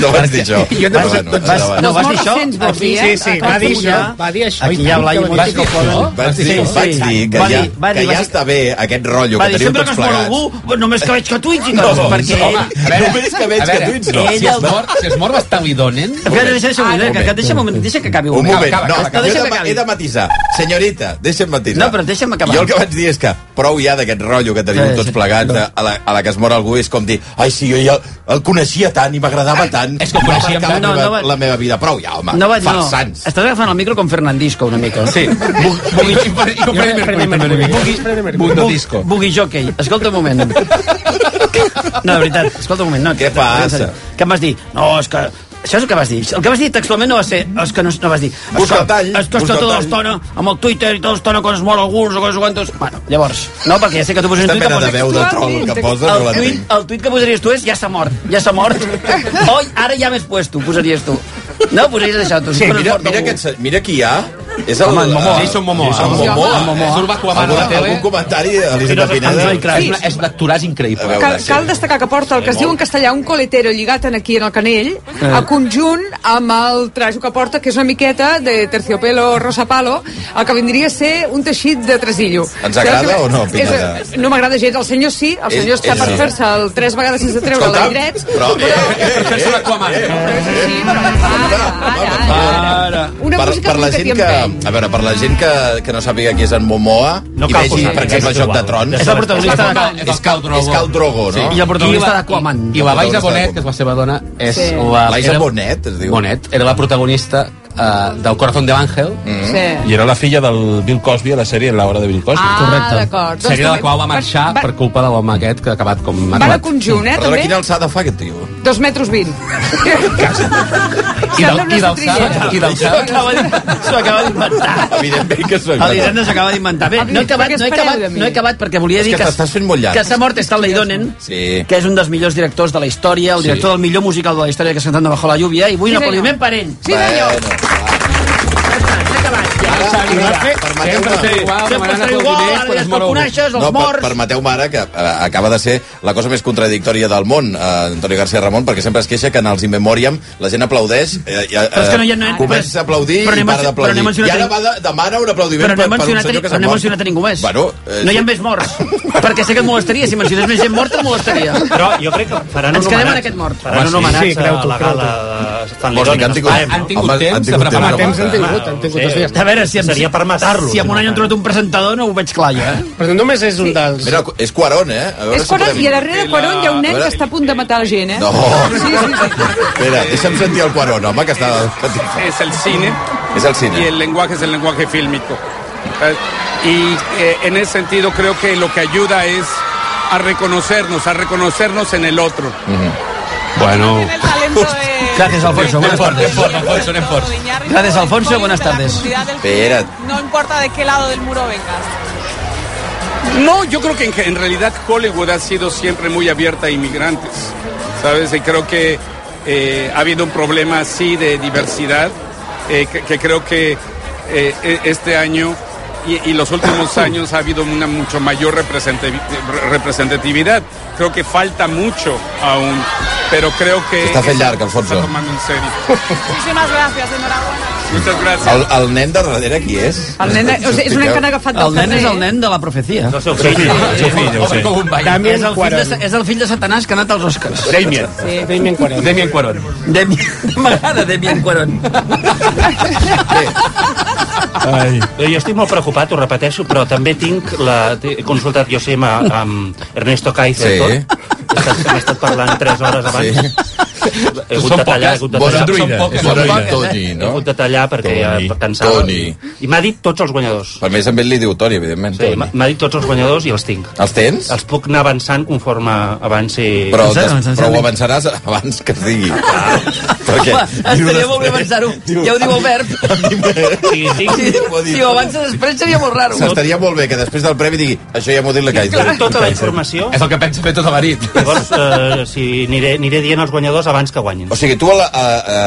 Speaker 22: No vas dir Ah, això.
Speaker 21: Jo t'he posat tot
Speaker 22: endavant.
Speaker 21: vas- no, vas dir
Speaker 16: Dels
Speaker 21: això?
Speaker 16: morts sents, vas dir, eh? Sí, sí, va dir això, va dir això,
Speaker 21: Aquí
Speaker 16: i
Speaker 21: hi ha
Speaker 16: tant,
Speaker 21: Blai
Speaker 16: que ho
Speaker 21: i
Speaker 16: has dit.
Speaker 21: Monti que poden-
Speaker 22: Vas dir,
Speaker 21: Sí, sí.
Speaker 22: vaig dir que,
Speaker 21: Va
Speaker 22: ja,
Speaker 21: dir- va
Speaker 22: que
Speaker 21: dir-
Speaker 22: ja
Speaker 21: va dir-
Speaker 22: està bé aquest rotllo
Speaker 21: va
Speaker 22: que
Speaker 21: dir,
Speaker 22: teniu
Speaker 21: sempre que
Speaker 22: tots
Speaker 21: es mor
Speaker 22: plegats.
Speaker 21: algú, només que veig que tuits i
Speaker 22: No,
Speaker 21: coses, perquè...
Speaker 22: home, a veure, només que veig
Speaker 21: a veure,
Speaker 22: que tuits, no.
Speaker 21: ell
Speaker 22: Si es
Speaker 21: el-
Speaker 22: mor-
Speaker 4: Si es mor, basta li donen.
Speaker 21: Espera, deixa, deixa un moment,
Speaker 22: Ah,
Speaker 21: que, que deixa un moment, deixa que acabi
Speaker 22: Un moment,
Speaker 21: Acaba,
Speaker 22: no,
Speaker 21: acaba, acaba,
Speaker 22: jo
Speaker 21: deixa
Speaker 22: he
Speaker 21: que
Speaker 22: de, he
Speaker 21: acabi.
Speaker 22: de matisar. Senyorita, deixa'm matisar.
Speaker 21: No, però deixa'm acabar.
Speaker 22: Jo el que vaig dir és que prou ja d'aquest rotllo que teniu
Speaker 21: Sí,
Speaker 22: tots
Speaker 21: sí.
Speaker 22: plegats de- a, la, a la que es mor algú és com dir ai, sí, jo ja el coneixia tant i m'agradava tant
Speaker 21: Ah,
Speaker 22: és
Speaker 21: que ho coneixíem
Speaker 22: la,
Speaker 21: tant. No,
Speaker 22: meva,
Speaker 21: no va-
Speaker 22: la meva vida. Prou ja, home.
Speaker 21: No vaig, no.
Speaker 22: Farsant.
Speaker 21: Estàs agafant el micro com Fernandisco, una mica.
Speaker 22: Sí.
Speaker 21: Bugui,
Speaker 4: Punto disco.
Speaker 21: bugui jockey. Escolta un moment. No, de veritat, escolta un moment. No, Què
Speaker 22: passa?
Speaker 21: Que em vas dir, no, és que... Això és el que vas dir. El que vas dir textualment no va ser... És que no, no vas dir...
Speaker 22: Busca el tall,
Speaker 21: És que
Speaker 22: busca
Speaker 21: està
Speaker 22: el
Speaker 21: tota
Speaker 22: tall."
Speaker 21: l'estona amb el Twitter i tota l'estona quan es mor alguns o coses quantos... Bueno, llavors... No, perquè ja sé que tu poses un
Speaker 22: Aquesta
Speaker 21: tuit...
Speaker 22: mena de veu de troll que poses no
Speaker 21: el,
Speaker 22: l'entenc.
Speaker 21: tuit, el tuit que posaries tu és ja s'ha mort, ja s'ha mort. Oi, ara ja m'has puesto, posaries tu. No, posaries això tu.
Speaker 22: Sí,
Speaker 21: si fores
Speaker 22: mira,
Speaker 21: mort
Speaker 22: mira,
Speaker 21: algú.
Speaker 22: aquest, se- mira qui hi ha És el...
Speaker 4: Home, en Momoa.
Speaker 22: Jason Momoa.
Speaker 4: Jason
Speaker 22: En
Speaker 4: Momoa.
Speaker 22: Momoa.
Speaker 4: En Momoa. Surt Bakuaman a la
Speaker 22: Algun-
Speaker 4: tele.
Speaker 22: Algun comentari, Elisabet
Speaker 4: Tiroses
Speaker 22: Pineda?
Speaker 4: Panzai, clar, És, una- és un actoràs increïble.
Speaker 21: veure,
Speaker 25: Cal, cal destacar que porta el que es diu en castellà un coletero lligat en aquí en el canell
Speaker 4: Eh.
Speaker 25: a conjunt amb el trajo que porta que és una miqueta de terciopelo rosapalo el que vindria a ser un teixit de tresillo
Speaker 22: Ens agrada o no, Pineda?
Speaker 25: És, no m'agrada gens, el senyor sí el
Speaker 22: Ell-
Speaker 25: senyor està
Speaker 22: ell
Speaker 25: per
Speaker 22: sí.
Speaker 25: fer-se el tres vegades sense treure
Speaker 22: Escolta'm,
Speaker 25: les drets
Speaker 22: però- eh, ah,
Speaker 25: una
Speaker 22: per, eh,
Speaker 25: música
Speaker 22: per la gent que, a veure, per la gent que, que no sàpiga qui és en Momoa
Speaker 25: No
Speaker 22: i
Speaker 25: cal
Speaker 22: vegi,
Speaker 25: posar-hi,
Speaker 22: per exemple,
Speaker 25: és
Speaker 22: Joc de
Speaker 25: igual.
Speaker 22: Trons
Speaker 25: És el protagonista de-
Speaker 22: és Cal Drogo, és Khal Drogo no?
Speaker 4: I el protagonista d'Aquaman. I la Baixa Bonet, que és la seva dona, és
Speaker 25: Sí.
Speaker 4: la...
Speaker 22: Liza
Speaker 4: era-
Speaker 22: Bonet, es diu?
Speaker 4: Bonet. Era la protagonista eh, del Corazón de l'Àngel.
Speaker 22: Mm.
Speaker 25: Sí.
Speaker 17: I era la filla del Bill Cosby a la sèrie La hora de Bill Cosby.
Speaker 25: Ah, Correcte. d'acord. Doncs
Speaker 4: Seguida de la
Speaker 25: també-
Speaker 4: qual va marxar
Speaker 25: va-
Speaker 4: per culpa de l'home aquest que ha acabat com... ha
Speaker 25: Va
Speaker 4: acabat.
Speaker 25: de conjunt, eh,
Speaker 4: Perdona,
Speaker 25: també?
Speaker 4: quina
Speaker 22: alçada fa aquest tio?
Speaker 25: dos metres vint
Speaker 4: I del-
Speaker 25: Sembla una
Speaker 4: i d'alçada-
Speaker 25: setrilla.
Speaker 4: i d'alçada-
Speaker 25: S'ho acaba d'inventar.
Speaker 21: S'ho acaba d'inventar.
Speaker 22: Evidentment que s'ho
Speaker 21: L'Irene s'acaba d'inventar. Bé, no he acabat, no he acabat, no he acabat perquè volia
Speaker 22: És
Speaker 21: dir
Speaker 22: que t'estàs fent molt llarg.
Speaker 21: que s'ha mort Stanley Donen,
Speaker 22: Sí.
Speaker 21: que és un dels millors directors de la història, el
Speaker 22: Sí.
Speaker 21: director del millor musical de la història que és Cantando bajo la lluvia, i vull
Speaker 22: Sí,
Speaker 21: un
Speaker 22: senyor.
Speaker 21: aplaudiment per ell.
Speaker 22: Sí, senyor.
Speaker 21: Sempre seré igual, sempre seré igual, ara ja te'l coneixes, els
Speaker 22: No, per,
Speaker 21: morts...
Speaker 22: permeteu-me ara que eh, acaba de ser la cosa més contradictòria del món, eh, Antonio García Ramon, perquè sempre es queixa que en els In Memoriam la gent aplaudeix, eh, i, eh,
Speaker 21: Però és que no hi ha- no hi ha-
Speaker 22: comença a aplaudir
Speaker 21: però no
Speaker 22: i
Speaker 21: hem
Speaker 22: para
Speaker 21: mencio- però no
Speaker 22: d'aplaudir.
Speaker 21: hem
Speaker 22: I
Speaker 21: mencionat-
Speaker 22: ara va de, demana un aplaudiment
Speaker 21: Però no
Speaker 22: per,
Speaker 21: hem
Speaker 22: per un
Speaker 21: mencionat,
Speaker 22: senyor que
Speaker 21: però
Speaker 22: s'ha
Speaker 21: no he
Speaker 22: mort.
Speaker 21: mencionat a ningú més.
Speaker 22: Bueno, eh,
Speaker 21: no hi ha més morts, perquè sé que et molestaria. Si mencionés més gent morta, et molestaria.
Speaker 7: Però jo crec que faran
Speaker 21: Ens
Speaker 7: un
Speaker 21: quedem en
Speaker 7: homenatge.
Speaker 21: aquest mort.
Speaker 7: Faran un homenatge a la gala de Stanley Ah, Donen. esperem, no? Sí.
Speaker 21: A veure, si
Speaker 7: Seria per matar-lo.
Speaker 21: Si en un any han trobat un presentador, no ho veig clar, eh? ja. Però només és un dels...
Speaker 22: Mira, és Cuarón, eh? A veure
Speaker 25: És
Speaker 22: si
Speaker 25: Quaron,
Speaker 22: podem-
Speaker 25: i a darrere de Quaron hi ha un
Speaker 22: A
Speaker 25: nen
Speaker 22: veure-
Speaker 25: que està a punt de matar la gent, eh?
Speaker 22: No.
Speaker 25: Sí, sí, sí.
Speaker 22: Espera, deixa'm sentir el Cuarón, home, que està...
Speaker 28: es el cine.
Speaker 22: Es el cine.
Speaker 28: Y el lenguaje es el lenguaje fílmico. Eh, Y eh, en ese sentido creo que lo que ayuda es a reconocernos, a reconocernos en el otro.
Speaker 4: Bueno...
Speaker 21: Gràcies, Alfonso.
Speaker 4: Anem
Speaker 21: Bones
Speaker 4: fort,
Speaker 21: tardes.
Speaker 4: anem fort, Alfonso, anem fort.
Speaker 21: Gracias, Alfonso. Buenas tardes.
Speaker 22: Espera't.
Speaker 28: No importa de qué lado del muro vengas. No, yo creo que en, en realidad Hollywood ha sido siempre muy abierta a inmigrantes, ¿sabes? Y creo que eh, ha habido un problema así de diversidad, eh, que, que creo que eh, e- este año y, y los últimos años ha habido una mucho mayor representati- representatividad. Creo que falta mucho aún, pero creo que...
Speaker 22: Está fent llarg, Alfonso.
Speaker 28: Se está tomando en serio. Muchísimas gracias, Muchas gracias.
Speaker 22: El, el nen de darrere qui és?
Speaker 25: El nen, o sigui, és un nen que han agafat del
Speaker 21: Eh, El nen és
Speaker 25: carrer.
Speaker 21: el nen de la profecia. El seu
Speaker 22: fill, el seu fill, deu ser.
Speaker 21: Damien és, el fill de, és el fill de Satanàs que ha anat als Oscars.
Speaker 4: Damien.
Speaker 21: Sí, Damien Cuarón.
Speaker 4: Damien Cuarón.
Speaker 21: Damien. M'agrada Damien Cuarón.
Speaker 7: Ai. Jo estic molt preocupat, ho repeteixo, però també tinc la... He consultat, jo sé, amb, amb Ernesto Kaiser,
Speaker 22: Sí.
Speaker 7: sí. tot. He estat, hem estat parlant 3 hores abans. Sí. He hagut
Speaker 22: Són
Speaker 7: de tallar, he
Speaker 22: poques,
Speaker 7: hagut de
Speaker 22: bon
Speaker 7: tallar.
Speaker 22: androide,
Speaker 7: Són poques,
Speaker 22: bon
Speaker 7: són
Speaker 22: androide.
Speaker 7: poques, eh?
Speaker 22: Toni, no?
Speaker 7: He hagut de tallar perquè
Speaker 22: Toni,
Speaker 7: ja cansava.
Speaker 22: Toni.
Speaker 7: I m'ha dit tots els guanyadors.
Speaker 22: Per mi també li diu Toni, evidentment.
Speaker 7: Sí, m'ha m'ha dit tots els guanyadors i els tinc.
Speaker 22: Els tens?
Speaker 7: Els puc anar avançant conforme avanci...
Speaker 22: Però, des, però ho avançaràs abans que es digui. Perquè...
Speaker 21: Estaria molt bé avançar-ho. Ja ho diu Albert.
Speaker 7: Sí, sí.
Speaker 21: Si, si ho avança després seria molt raro.
Speaker 22: S'estaria molt bé que després del premi digui això ja m'ho dit la Kaiser.
Speaker 7: Tota la informació...
Speaker 22: És el que pensa fer tot avarit.
Speaker 7: Llavors, eh, si aniré, aniré dient els guanyadors abans que guanyin.
Speaker 22: O sigui, tu a la, a,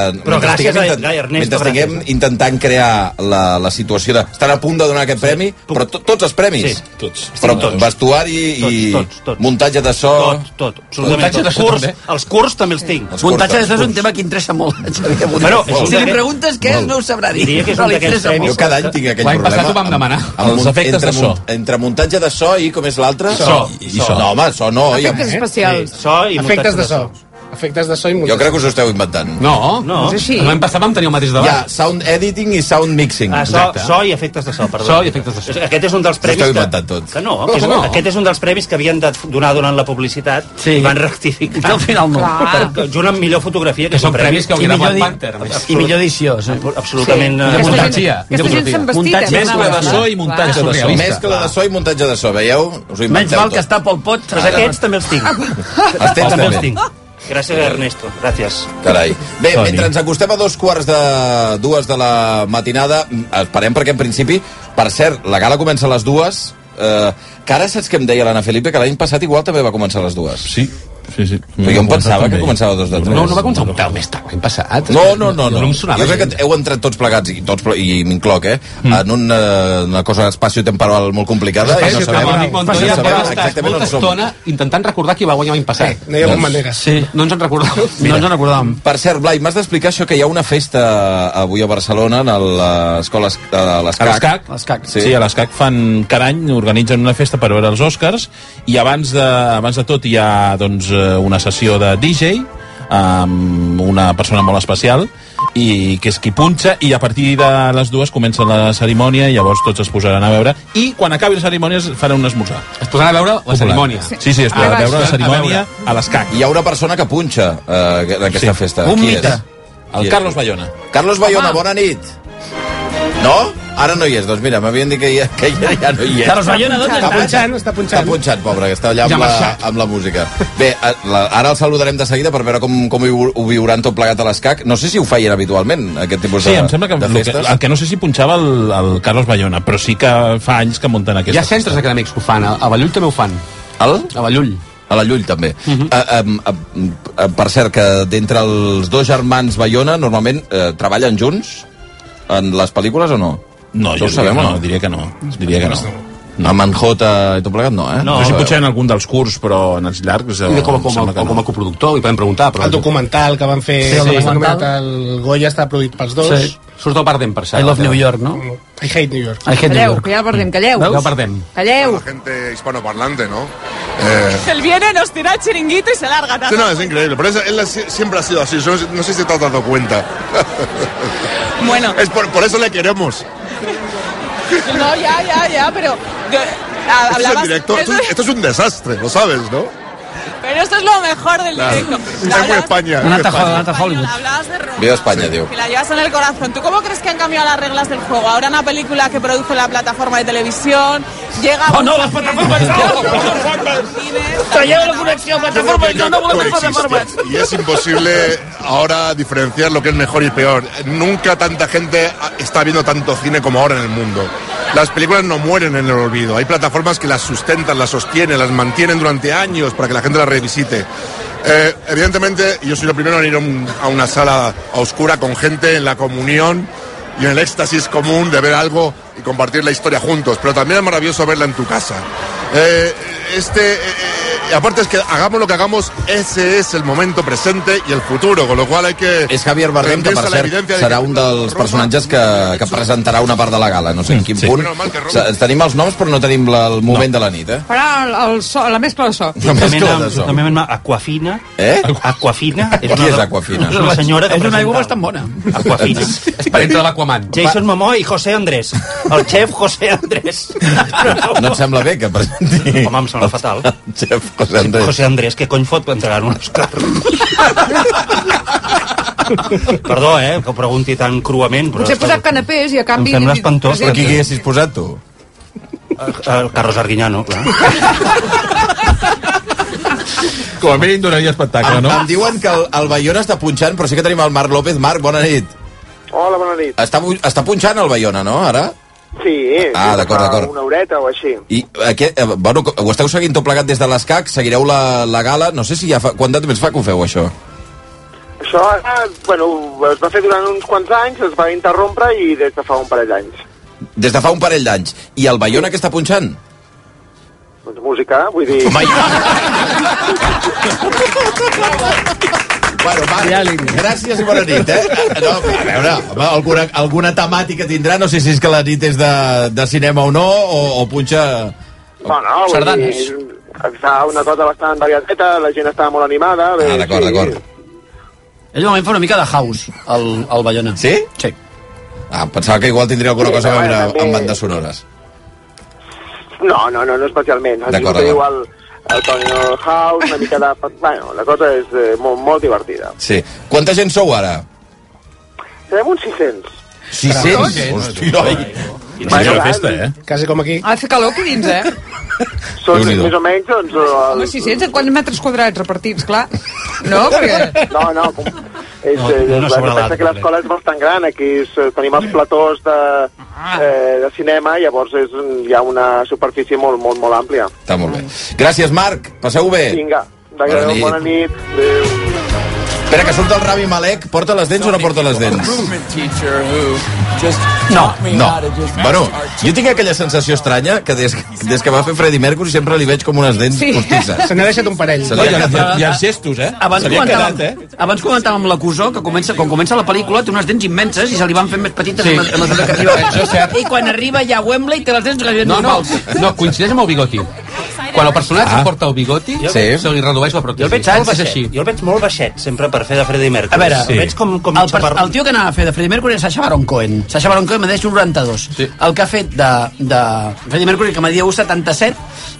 Speaker 22: a,
Speaker 7: Però
Speaker 22: mentre
Speaker 7: gràcies
Speaker 22: estiguem
Speaker 7: a-
Speaker 22: intent-
Speaker 7: Gai, Ernesto,
Speaker 22: mentre estiguem
Speaker 7: gràcies.
Speaker 22: intentant crear la, la situació de... Estan a punt de donar aquest premi, però to, tots els premis.
Speaker 7: Sí, tots.
Speaker 22: Però
Speaker 7: Sí, tots.
Speaker 22: vestuari i
Speaker 7: Tots, tots, tots.
Speaker 22: muntatge de so...
Speaker 7: Tot, tot. Absolutament
Speaker 22: Muntatge
Speaker 7: tot.
Speaker 22: de so,
Speaker 7: Curs,
Speaker 22: també?
Speaker 7: els curs també els tinc.
Speaker 21: Muntatge de so és un tema que interessa molt a Xavier Bonet.
Speaker 7: Bueno, és un
Speaker 21: si li
Speaker 7: d'aquest-
Speaker 21: preguntes què és, no ho sabrà dir.
Speaker 7: Diria que és un
Speaker 21: No li
Speaker 7: d'aquests
Speaker 21: interessa
Speaker 7: premis
Speaker 21: molt.
Speaker 22: Jo cada any tinc aquell
Speaker 21: L'any
Speaker 22: problema.
Speaker 21: passat ho vam demanar.
Speaker 22: amb- amb
Speaker 21: Els
Speaker 22: mun-
Speaker 21: efectes
Speaker 22: entre
Speaker 21: de
Speaker 22: mun-
Speaker 21: so.
Speaker 22: Entre muntatge de so i, com és l'altre?
Speaker 28: So.
Speaker 22: I,
Speaker 28: So.
Speaker 22: so. No, home, so no. i-
Speaker 28: Efectes especials.
Speaker 22: Sí, so i
Speaker 16: Efectes
Speaker 22: muntatge
Speaker 16: de
Speaker 22: de
Speaker 16: so. Efectes de so i
Speaker 22: Jo crec que us ho esteu inventant.
Speaker 4: No,
Speaker 7: No. és així.
Speaker 4: L'any passat vam tenir el mateix
Speaker 22: Hi
Speaker 4: debat.
Speaker 22: ha sound editing i sound mixing.
Speaker 7: Ah, so, so i efectes de so, perdó.
Speaker 22: So i
Speaker 7: efectes de so. Aquest és un dels
Speaker 22: S'està
Speaker 7: premis que,
Speaker 22: inventant tot.
Speaker 7: que no, que és,
Speaker 22: No,
Speaker 7: no,
Speaker 22: no.
Speaker 7: aquest és un dels premis que havien de donar durant la publicitat sí. i van rectificar.
Speaker 21: I al final no. Clar.
Speaker 7: Per, junt amb millor fotografia, que,
Speaker 4: Que són premis que haurien
Speaker 7: I millor
Speaker 4: de Black
Speaker 7: di-
Speaker 4: Panther, a més.
Speaker 7: Absolut-
Speaker 4: I millor edició, sí.
Speaker 7: Absolutament.
Speaker 4: Sí.
Speaker 7: eh,
Speaker 4: Aquesta
Speaker 7: muntatge.
Speaker 4: gent- aquesta gent s'han vestit, eh,
Speaker 22: Mescla de so i
Speaker 4: Clar.
Speaker 22: muntatge de so.
Speaker 4: Surrealista.
Speaker 22: Mescla de so i muntatge de so, veieu? Us ho inventeu
Speaker 21: Menys mal
Speaker 22: tot.
Speaker 21: que està Pol Pot.
Speaker 7: Doncs aquests també els tinc.
Speaker 22: Els tens
Speaker 7: també
Speaker 22: també.
Speaker 7: els tinc. Gràcies, Ernesto. Gràcies.
Speaker 22: Carai. Bé, mentre ens acostem a dos quarts de dues de la matinada, mm, esperem perquè en principi, per cert, la gala comença a les dues, eh, que ara saps què em deia l'Anna Felipe? Que l'any passat igual també va començar a les dues.
Speaker 17: Sí. Sí, sí.
Speaker 22: Però jo em pensava que començava dos de tres.
Speaker 4: No, no va començar un pèl més tard, l'any passat.
Speaker 22: No, no, no. no.
Speaker 4: No em sonava
Speaker 22: jo crec
Speaker 4: gens.
Speaker 22: que heu entrat tots plegats, i, tots, ple- i m'incloc, eh? Mm. En una, una cosa espacio-temporal molt complicada.
Speaker 4: Eh,
Speaker 22: i
Speaker 4: no sabem, amic Montoya,
Speaker 22: no sabem
Speaker 4: vam estar
Speaker 22: exactament
Speaker 4: molta
Speaker 22: on som.
Speaker 4: estona intentant recordar qui va guanyar l'any passat. Doncs
Speaker 22: Eh, no hi ha banderes.
Speaker 4: Sí, no ens en recordàvem. No
Speaker 17: Doncs
Speaker 4: ens en recordàvem.
Speaker 22: Per cert, Blai, m'has d'explicar això que hi ha una festa eh, avui a Barcelona, a l'escola Esc- eh, a
Speaker 17: A
Speaker 22: l'Escac.
Speaker 17: l'ESCAC, sí.
Speaker 22: Sí.
Speaker 17: sí, a l'ESCAC fan cada any, organitzen una festa per veure els Oscars i abans de, abans de tot hi ha doncs, eh, una sessió de DJ amb una persona molt especial i que és qui punxa i a partir de les dues comença la cerimònia i llavors tots es posaran a veure i quan acabi la cerimònia es farà un esmorzar
Speaker 4: es posaran a veure la cerimònia.
Speaker 17: sí, sí, es
Speaker 22: Ah,
Speaker 17: posaran a veure la cerimònia a l'escac.
Speaker 22: Hi ha una persona que punxa eh, en aquesta
Speaker 17: Sí.
Speaker 22: festa.
Speaker 17: Un
Speaker 22: Qui
Speaker 17: mite.
Speaker 22: és?
Speaker 17: El
Speaker 22: Qui és?
Speaker 17: Carlos Bayona.
Speaker 22: Carlos Bayona,
Speaker 17: Home.
Speaker 22: bona nit. No? Ara no hi és, doncs mira, m'havien dit que, ja, que ja, ja no hi és.
Speaker 16: Carlos Bayona, ¿dónde
Speaker 22: Està
Speaker 16: está?
Speaker 22: punxant, està punxant. Està punxat, pobre, que està allà
Speaker 16: Ja ha
Speaker 22: amb la,
Speaker 16: marxat.
Speaker 22: amb la música. Bé, eh, la, ara el saludarem de seguida per veure com, com ho, ho viuran tot plegat a l'escac. No sé si ho feien habitualment, aquest tipus
Speaker 17: Sí,
Speaker 22: de,
Speaker 17: em sembla que,
Speaker 22: de
Speaker 17: el que,
Speaker 22: festes.
Speaker 17: el que no sé si punxava el, el Carlos Bayona, però sí que fa anys que munten
Speaker 4: Hi
Speaker 17: aquesta
Speaker 4: ha centres acadèmics que ho fan, a a Ballull també ho fan.
Speaker 22: Al?
Speaker 4: A Ballull.
Speaker 22: A la Llull, també.
Speaker 17: Mhm.
Speaker 22: Uh -huh. uh, um, uh, per cert, que d'entre els dos germans Bayona, normalment eh, treballen junts en les pel·lícules o no?
Speaker 17: No, jo
Speaker 22: ho
Speaker 17: diria
Speaker 22: sabem,
Speaker 17: que
Speaker 22: o
Speaker 17: no, diria que no. Diria que no.
Speaker 22: no. Amb en Jota i tot plegat, no, eh?
Speaker 17: Ah, No, no sé, potser en algun dels curts, però en els llargs... Eh,
Speaker 4: I com a- com a-
Speaker 17: com
Speaker 4: a coproductor, li podem preguntar, però...
Speaker 16: El documental que van fer
Speaker 4: Sí, el
Speaker 16: el,
Speaker 4: documental.
Speaker 16: documental. el Goya està produït pels dos.
Speaker 4: Sí. Surt el Bardem, per cert.
Speaker 16: I love
Speaker 4: Déu.
Speaker 16: New York, no? I hate New York.
Speaker 25: Calleu, que ja el perdem, calleu.
Speaker 4: Ja el perdem.
Speaker 25: Calleu.
Speaker 29: gente hispanoparlante, ¿no? Eh,
Speaker 21: Él viene, nos tira el chiringuito y se larga.
Speaker 29: sí, no, es increíble, pero es- él ha si- siempre ha sido así, yo no sé- no sé si te has dado cuenta.
Speaker 21: Bueno.
Speaker 29: Es por, por eso le queremos.
Speaker 21: No, ya, ya, ya, pero... yo- a-
Speaker 29: Este es el
Speaker 21: hablabas-
Speaker 29: director, esto,
Speaker 21: eso-
Speaker 29: es- esto es un desastre, lo sabes, ¿no?
Speaker 21: pero esto es lo mejor del
Speaker 29: Claro.
Speaker 21: directo.
Speaker 29: Es
Speaker 21: La
Speaker 29: muy
Speaker 21: hablabas-
Speaker 29: España.
Speaker 21: Una
Speaker 29: muy
Speaker 21: tajada,
Speaker 29: España.
Speaker 21: una tajada. Hablabas de Roma,
Speaker 22: Viva España, diu.
Speaker 21: que la llevas en el
Speaker 13: eh.
Speaker 21: corazón. ¿Tú cómo crees que han cambiado las reglas del juego? Ahora una película que produce la plataforma de televisión, llega...
Speaker 23: No, no,
Speaker 21: mucha
Speaker 23: las
Speaker 21: gente-
Speaker 23: plataformas no,
Speaker 21: Traía
Speaker 23: la conexión, plataforma, yo no vuelvo a plataformas.
Speaker 29: Coexisten. Y es imposible ahora diferenciar lo que es mejor y peor. Nunca tanta gente está viendo tanto cine como ahora en el mundo. Las películas no mueren en el olvido. Hay plataformas que las sustentan, las sostienen, las mantienen durante años para que la gente las revisite. Eh, evidentemente, yo soy lo primero en ir a, un- a una sala a oscura con gente en la comunión y en el éxtasis común de ver algo y compartir la historia juntos. Pero también es maravilloso verla en tu casa. Eh, este, eh, eh, aparte es que hagamos lo que hagamos, ese es el momento presente y el futuro, con lo cual hay que...
Speaker 22: És Javier Bardem, que per
Speaker 29: rendirse a la
Speaker 22: cert
Speaker 29: evidencia de
Speaker 22: serà
Speaker 29: que-
Speaker 22: un dels personatges que, que presentarà una part de la gala, no sé en quin
Speaker 29: Sí.
Speaker 22: punt.
Speaker 29: Menos mal que Roma-
Speaker 22: Se- Tenim els noms però no tenim la, el moment de la nit, eh?
Speaker 25: Farà el, el so, la mescla de so.
Speaker 22: La
Speaker 7: També
Speaker 22: mescla
Speaker 7: anem-
Speaker 22: de so.
Speaker 7: també anem a Aquafina.
Speaker 22: Eh?
Speaker 7: Aquafina.
Speaker 22: Qui
Speaker 7: una-
Speaker 22: és Aquafina?
Speaker 7: És una senyora que
Speaker 22: És una aigua
Speaker 7: bastant bona. Aquafina. És parenta de l'Aquaman. Jason Momoa i José Andrés. El xef José Andrés.
Speaker 22: No et sembla bé que presenti...
Speaker 7: Home, em sembla fatal.
Speaker 22: Xef José Andrés.
Speaker 7: José Andrés, què cony fot entregar un Oscar? Perdó, eh, que ho pregunti tan cruament, però...
Speaker 25: Potser he posat canapés i a canvi...
Speaker 7: Em sembla espantós.
Speaker 25: Presenta.
Speaker 7: Qui
Speaker 22: haguessis posat, tu?
Speaker 7: El Carlos Arguiñano, clar.
Speaker 17: Com a mínim donaria espectacle,
Speaker 22: Em, em diuen que el, el Bayona està punxant, però sí que tenim el Marc López. Marc, bona nit.
Speaker 30: Hola, bona nit.
Speaker 22: Està, bu- està punxant el Bayona, no, ara?
Speaker 30: Sí,
Speaker 22: Ah,
Speaker 30: sí,
Speaker 22: d'acord,
Speaker 30: fa
Speaker 22: d'acord.
Speaker 30: Una horeta o així.
Speaker 22: I aquest, eh, bueno, ho esteu seguint tot plegat des de l'ESCAC, seguireu la, la gala, no sé si ja fa, quant de temps fa que ho feu, això?
Speaker 30: Això, ara, bueno, es va fer durant uns quants anys, es va interrompre i des de fa un parell d'anys.
Speaker 22: Des de fa un parell d'anys. I el Bayona que està punxant?
Speaker 30: Doncs música, vull dir...
Speaker 22: Home, Bueno, Marc, gràcies i bona nit, eh? No, a veure, home, alguna, alguna temàtica tindrà, no sé si és que la nit és de, de cinema o no, o, o punxa...
Speaker 30: No, no, vull
Speaker 22: Sardanes.
Speaker 30: dir... Està una cosa bastant variadeta, la gent estava molt animada... Bé,
Speaker 22: Ah, d'acord, d'acord.
Speaker 31: Ell de moment fa una mica de house, el, el Bayona.
Speaker 22: Sí?
Speaker 31: Sí.
Speaker 22: Ah, pensava que igual tindria alguna
Speaker 30: Sí,
Speaker 22: cosa a
Speaker 30: però
Speaker 22: veure
Speaker 30: bueno, també-
Speaker 22: amb bandes sonores.
Speaker 30: No, no, no, no especialment. Ha
Speaker 22: D'acord,
Speaker 30: sigut igual el Tony House, una mica de... Bueno, la cosa és eh, molt, molt divertida.
Speaker 22: Sí. Quanta gent sou ara?
Speaker 30: Serem uns 600.
Speaker 22: 600? Hosti, noi.
Speaker 30: Quina gran festa, eh?
Speaker 16: Quasi com aquí.
Speaker 25: Ha de fer calor aquí dins, eh?
Speaker 30: Són
Speaker 22: Déu-n'hi-do.
Speaker 30: més o menys, doncs...
Speaker 25: Home,
Speaker 30: El...
Speaker 25: 600 en quants metres quadrats repartits, clar. No, perquè...
Speaker 30: No, no, com... És,
Speaker 7: No,
Speaker 30: no,
Speaker 7: no
Speaker 30: no
Speaker 7: sobre l'altre,
Speaker 30: pensa que l'escola és bastant gran, aquí és, eh, tenim els platós de,
Speaker 25: Ah.
Speaker 30: eh, de cinema, llavors és, mm, un- hi ha una superfície molt, molt, molt àmplia.
Speaker 22: Està molt bé. Gràcies, Marc. Passeu-ho bé.
Speaker 30: Vinga, Vinga,
Speaker 22: Bona
Speaker 30: adéu,
Speaker 22: nit.
Speaker 30: bona nit. Adéu.
Speaker 22: Espera, que surt el Ravi Malek. Porta les dents o no porta les dents? No, no. Bueno, jo tinc aquella sensació estranya que des, des que va fer Freddie Mercury sempre li veig com unes dents
Speaker 16: Sí.
Speaker 22: postisses.
Speaker 16: Se n'ha deixat un parell.
Speaker 22: Se li ha quedat-
Speaker 17: gestos, eh?
Speaker 21: Abans
Speaker 22: Se li ha
Speaker 21: comentàvem,
Speaker 22: quedat,
Speaker 21: eh? abans comentàvem l'acusó, que comença, quan comença la pel·lícula té unes dents immenses i se li van fent més petites sí. a mesura que arriba.
Speaker 4: Això és cert.
Speaker 21: I quan arriba ja a Wembley té les dents gairebé
Speaker 4: No, no,
Speaker 21: normals.
Speaker 4: no, coincideix amb el bigoti. Quan el personatge
Speaker 7: Ah.
Speaker 4: ah. porta el bigoti,
Speaker 7: Jo-
Speaker 4: sí. se li redueix la
Speaker 7: Jo
Speaker 4: pròtesi.
Speaker 7: el veig molt
Speaker 4: Molt
Speaker 7: baixet.
Speaker 4: així.
Speaker 7: Jo el veig molt baixet, sempre, per fer de Freddie Mercury.
Speaker 21: A veure,
Speaker 7: el veig com, com
Speaker 21: el, per, el tio que anava a fer de Freddie Mercury és Sacha Baron Cohen. Sacha Baron Cohen me deixa un 92. Sí. El que ha fet de, de Freddie Mercury, que me diu 77,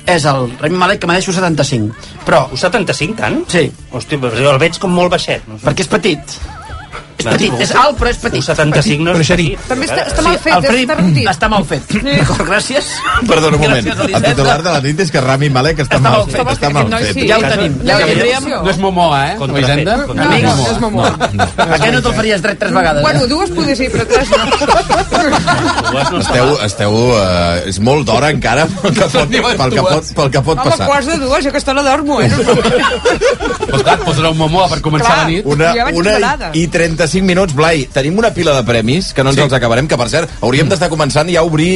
Speaker 21: és el Remy Malek, que me deixa un 75. Però...
Speaker 7: Un 75, tant?
Speaker 21: Sí.
Speaker 7: Hòstia, però el veig com molt baixet. No sé.
Speaker 21: Perquè és petit. És petit, és alt, però és petit.
Speaker 7: Un 75 no és petit.
Speaker 21: També
Speaker 7: està- està
Speaker 32: mal fet,
Speaker 21: el Freddie
Speaker 32: està rotit.
Speaker 21: Està mal fet. D'acord, gràcies.
Speaker 22: Perdona un moment.
Speaker 21: Gràcies,
Speaker 22: El
Speaker 21: Elisenda.
Speaker 22: titular de la nit és que Rami Malek està,
Speaker 21: Està
Speaker 22: mal
Speaker 21: mal
Speaker 22: fet.
Speaker 21: fet,
Speaker 22: Està mal
Speaker 21: aquest noi
Speaker 22: fet.
Speaker 21: sí. Ja ho tenim, ja ho tindríem.
Speaker 4: No és Momoa, eh? Contra Elisenda?
Speaker 21: No, no, no és Momoa. Aquest no te'l faries dret tres vegades.
Speaker 25: Bueno, dues poder ser, però tres no.
Speaker 22: Esteu, esteu, eh, és molt d'hora encara pel que pot, pel que pot, pel que pot
Speaker 25: Home,
Speaker 22: passar.
Speaker 25: quarts de dues, jo aquesta hora dormo, eh?
Speaker 22: Pues clar, posarà un momoa per
Speaker 25: començar Clar, la nit.
Speaker 22: Una,
Speaker 25: jo ja vaig
Speaker 22: una
Speaker 25: enfadada.
Speaker 22: i 35 minuts, Blai. Tenim una pila de premis que no ens sí. els acabarem, que per cert, hauríem d'estar començant ja a obrir...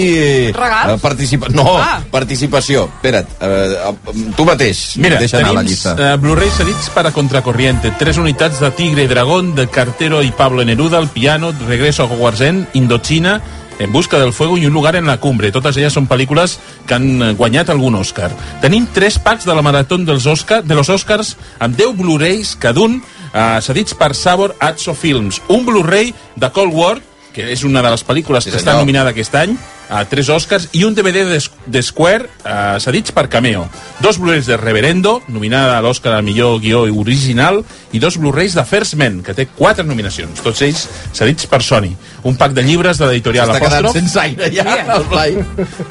Speaker 17: Regals?
Speaker 22: eh, participa no,
Speaker 17: Ah.
Speaker 22: participació. Espera't, eh, eh, tu mateix.
Speaker 17: Mira,
Speaker 22: deixa anar
Speaker 17: tenim
Speaker 22: la llista.
Speaker 17: eh, Blu-ray cedits per a Contracorriente, tres unitats de Tigre y Dragón, de Cartero y Pablo Neruda, El Piano, Regreso a Hogwarts End, Indochina, En Busca del Fuego i Un Lugar en la Cumbre. Totes elles són pel·lícules que han eh, guanyat algun Òscar. Tenim tres packs de la Marató dels Oscar, de los Oscars amb 10 Blu-rays cada un eh, cedits per Sabor Atso Films. Un Blu-ray de Cold War, que és una de les pel·lícules que està nominada aquest any, a tres Oscars i un DVD de, de Square eh, cedits per Cameo. Dos Blu-rays de Reverendo, nominada a l'Oscar al millor guió original, i dos Blu-rays de First Men, que té quatre nominacions, tots ells cedits per Sony. Un pack de llibres de l'editorial
Speaker 22: S'està quedant
Speaker 17: Apòstrof.
Speaker 22: sense aire ja, el Blai.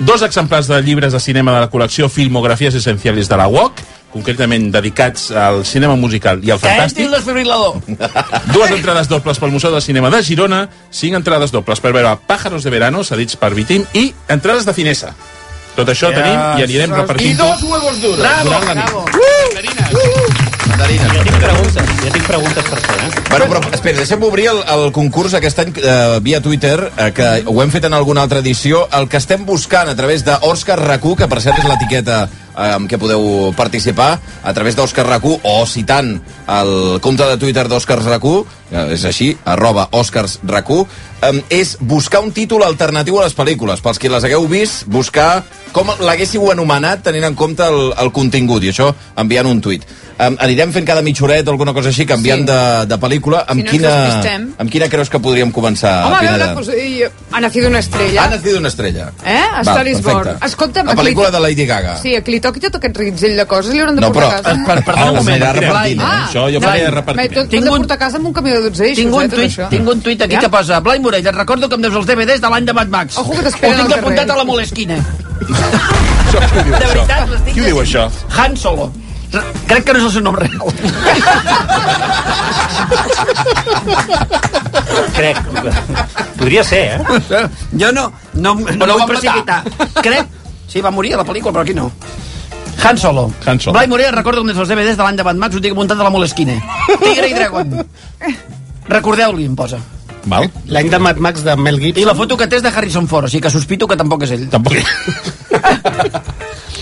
Speaker 17: Dos exemplars de llibres de cinema de la col·lecció Filmografies Essenciales de la UOC, concretament dedicats al cinema musical i al fantàstic.
Speaker 21: Fantàstic. el desfibrilador.
Speaker 17: Dues entrades dobles pel Museu de Cinema de Girona, cinc entrades dobles per veure Pájaros de Verano, cedits per Vitim, i entrades de finesa. Tot això
Speaker 22: Ja
Speaker 17: tenim i anirem
Speaker 22: saps.
Speaker 17: repartint.
Speaker 22: I dos huevos duros.
Speaker 17: Bravo,
Speaker 22: Durant la nit.
Speaker 17: bravo.
Speaker 22: Mandarines.
Speaker 7: Jo tinc preguntes, jo tinc preguntes per fer, eh?
Speaker 22: Bueno, però espera, deixem obrir el, el concurs aquest any eh, via Twitter, eh, que ho hem fet en alguna altra edició. El que estem buscant a través d'Òscar RAC1, que per cert és l'etiqueta eh, amb què podeu participar, a través d'Òscar RAC1 o citant el compte de Twitter d'Òscar RAC1, eh, és així, arroba Òscars RAC1, eh, és buscar un títol alternatiu a les pel·lícules. Pels qui les hagueu vist, buscar com l'haguéssiu anomenat tenint en compte el, el contingut, i això enviant un tuit. Um, anirem fent cada mitjoret o alguna cosa així, canviant sí. de, de pel·lícula. Amb,
Speaker 25: Si no ens
Speaker 22: quina,
Speaker 25: despistem.
Speaker 22: amb quina creus que podríem començar?
Speaker 25: Home, a veure,
Speaker 22: Pineda?
Speaker 25: doncs, i- ha nacido una estrella.
Speaker 22: Ha nacido una estrella.
Speaker 25: Eh? A
Speaker 22: Va,
Speaker 25: Star is
Speaker 22: perfecte.
Speaker 25: Born. Escolta'm,
Speaker 22: La
Speaker 25: a qui li-
Speaker 22: pel·lícula de Lady Gaga.
Speaker 25: Sí, a qui li toqui tot aquest reguitzell de coses li hauran de
Speaker 22: No,
Speaker 25: portar
Speaker 22: però-
Speaker 25: a casa.
Speaker 22: per- perdona un moment, Blai. Ah,
Speaker 17: Això jo faria repartiment.
Speaker 25: Tot, tot de portar a casa amb un camió de 12 eixos,
Speaker 21: Tinc un,
Speaker 25: eh, tot
Speaker 21: tuit,
Speaker 25: això.
Speaker 21: tinc un tuit aquí
Speaker 25: Ja?
Speaker 21: que posa Blai Morell, et recordo que em deus els DVDs de l'any de Mad Max.
Speaker 25: Ojo, que t'esperen
Speaker 21: Ho
Speaker 25: al
Speaker 21: tinc
Speaker 25: carrer.
Speaker 21: apuntat a la molesquina.
Speaker 17: Qui ho diu,
Speaker 21: De veritat,
Speaker 17: això?
Speaker 21: les tinc
Speaker 17: Qui ho diu, això?
Speaker 21: Han Solo. Re- Crec que no és el seu nom real.
Speaker 7: Crec. Podria ser, eh?
Speaker 21: Jo no, no, no,
Speaker 7: no
Speaker 21: no
Speaker 7: va
Speaker 21: vull precipitar. Crec... Sí, va morir a la pel·lícula, però aquí no. Han Solo.
Speaker 17: Han Solo.
Speaker 21: Blai Morell, et recordo que em deus els DVDs de l'any de Mad Max, ho tinc apuntat a la molesquina. Tigre i Dragon. Recordeu-li, em posa.
Speaker 17: Val.
Speaker 21: L'any de Mad Max de Mel Gibson. I la foto que té és de Harrison Ford, o sigui que sospito que tampoc és ell.
Speaker 17: Tampoc.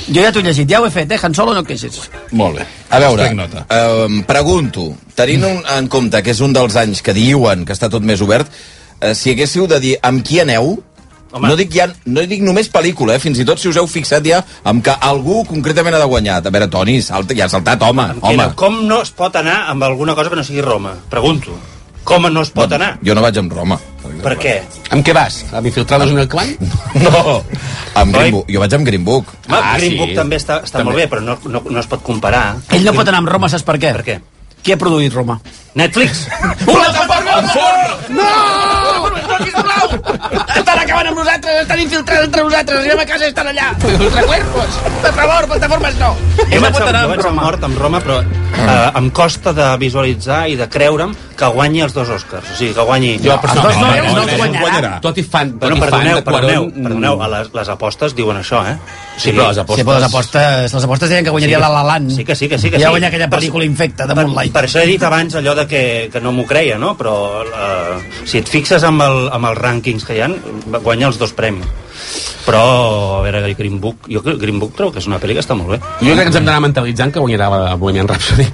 Speaker 21: jo ja t'ho he llegit, ja ho he fet, eh? Han Solo no et queixis.
Speaker 17: Molt bé.
Speaker 22: A veure,
Speaker 17: Prenc
Speaker 22: eh, pregunto, tenint un, en compte que és un dels anys que diuen que està tot més obert, eh, si haguéssiu de dir amb qui aneu, Home. No dic, ja, no dic només pel·lícula, eh? fins i tot si us heu fixat ja amb que algú concretament ha de guanyar. A veure, Toni, salta, ja ha saltat, home. home.
Speaker 7: Home. Com no es pot anar amb alguna cosa que no sigui Roma? Pregunto. Com no es pot anar?
Speaker 22: Jo no vaig amb Roma.
Speaker 7: Per què?
Speaker 4: Amb què vas? Amb infiltrados en el clan?
Speaker 22: No. Amb Green Book. Jo vaig amb Green Book.
Speaker 7: Home, ah, Green Book també està, està també. molt bé, però no, no, no es pot comparar.
Speaker 21: Ell no pot anar amb Roma, saps per què? Per
Speaker 7: què?
Speaker 21: Qui ha produït Roma?
Speaker 7: Netflix.
Speaker 21: Una plataforma en forn! No! Estan acabant amb nosaltres!
Speaker 13: estan infiltrats entre vosaltres. Anem a casa i estan allà. Us recuerdos. Per favor, plataformes no.
Speaker 7: Jo vaig, ser, jo vaig ser mort amb Roma, però eh, em costa de visualitzar i de creure'm que guanyi els dos Oscars. O sigui, que guanyi...
Speaker 4: Jo, però no, no, no, no,
Speaker 7: guanyarà.
Speaker 4: Tot i fan, tot
Speaker 7: Bueno,
Speaker 4: i fan
Speaker 7: perdoneu,
Speaker 4: de Cuarón,
Speaker 7: perdoneu, perdoneu, a les, les apostes diuen això, eh? O
Speaker 4: Sí, però les
Speaker 21: Sí, però les apostes, les apostes deien que guanyaria
Speaker 7: Sí.
Speaker 21: la La Land.
Speaker 7: Sí que sí, que sí. Que
Speaker 21: ja
Speaker 7: sí.
Speaker 21: guanya aquella pel·lícula infecta de Moonlight.
Speaker 7: Per això he dit abans allò de que, que no m'ho creia, no? Però eh, si et fixes amb, el, amb els rànquings que hi ha, guanya els dos premis. Però, a veure, Green Book... Jo crec- Green Book trobo que és una pel·li que està molt bé.
Speaker 4: Jo crec que ens hem d'anar mentalitzant que guanyarà la Bohemian Rhapsody.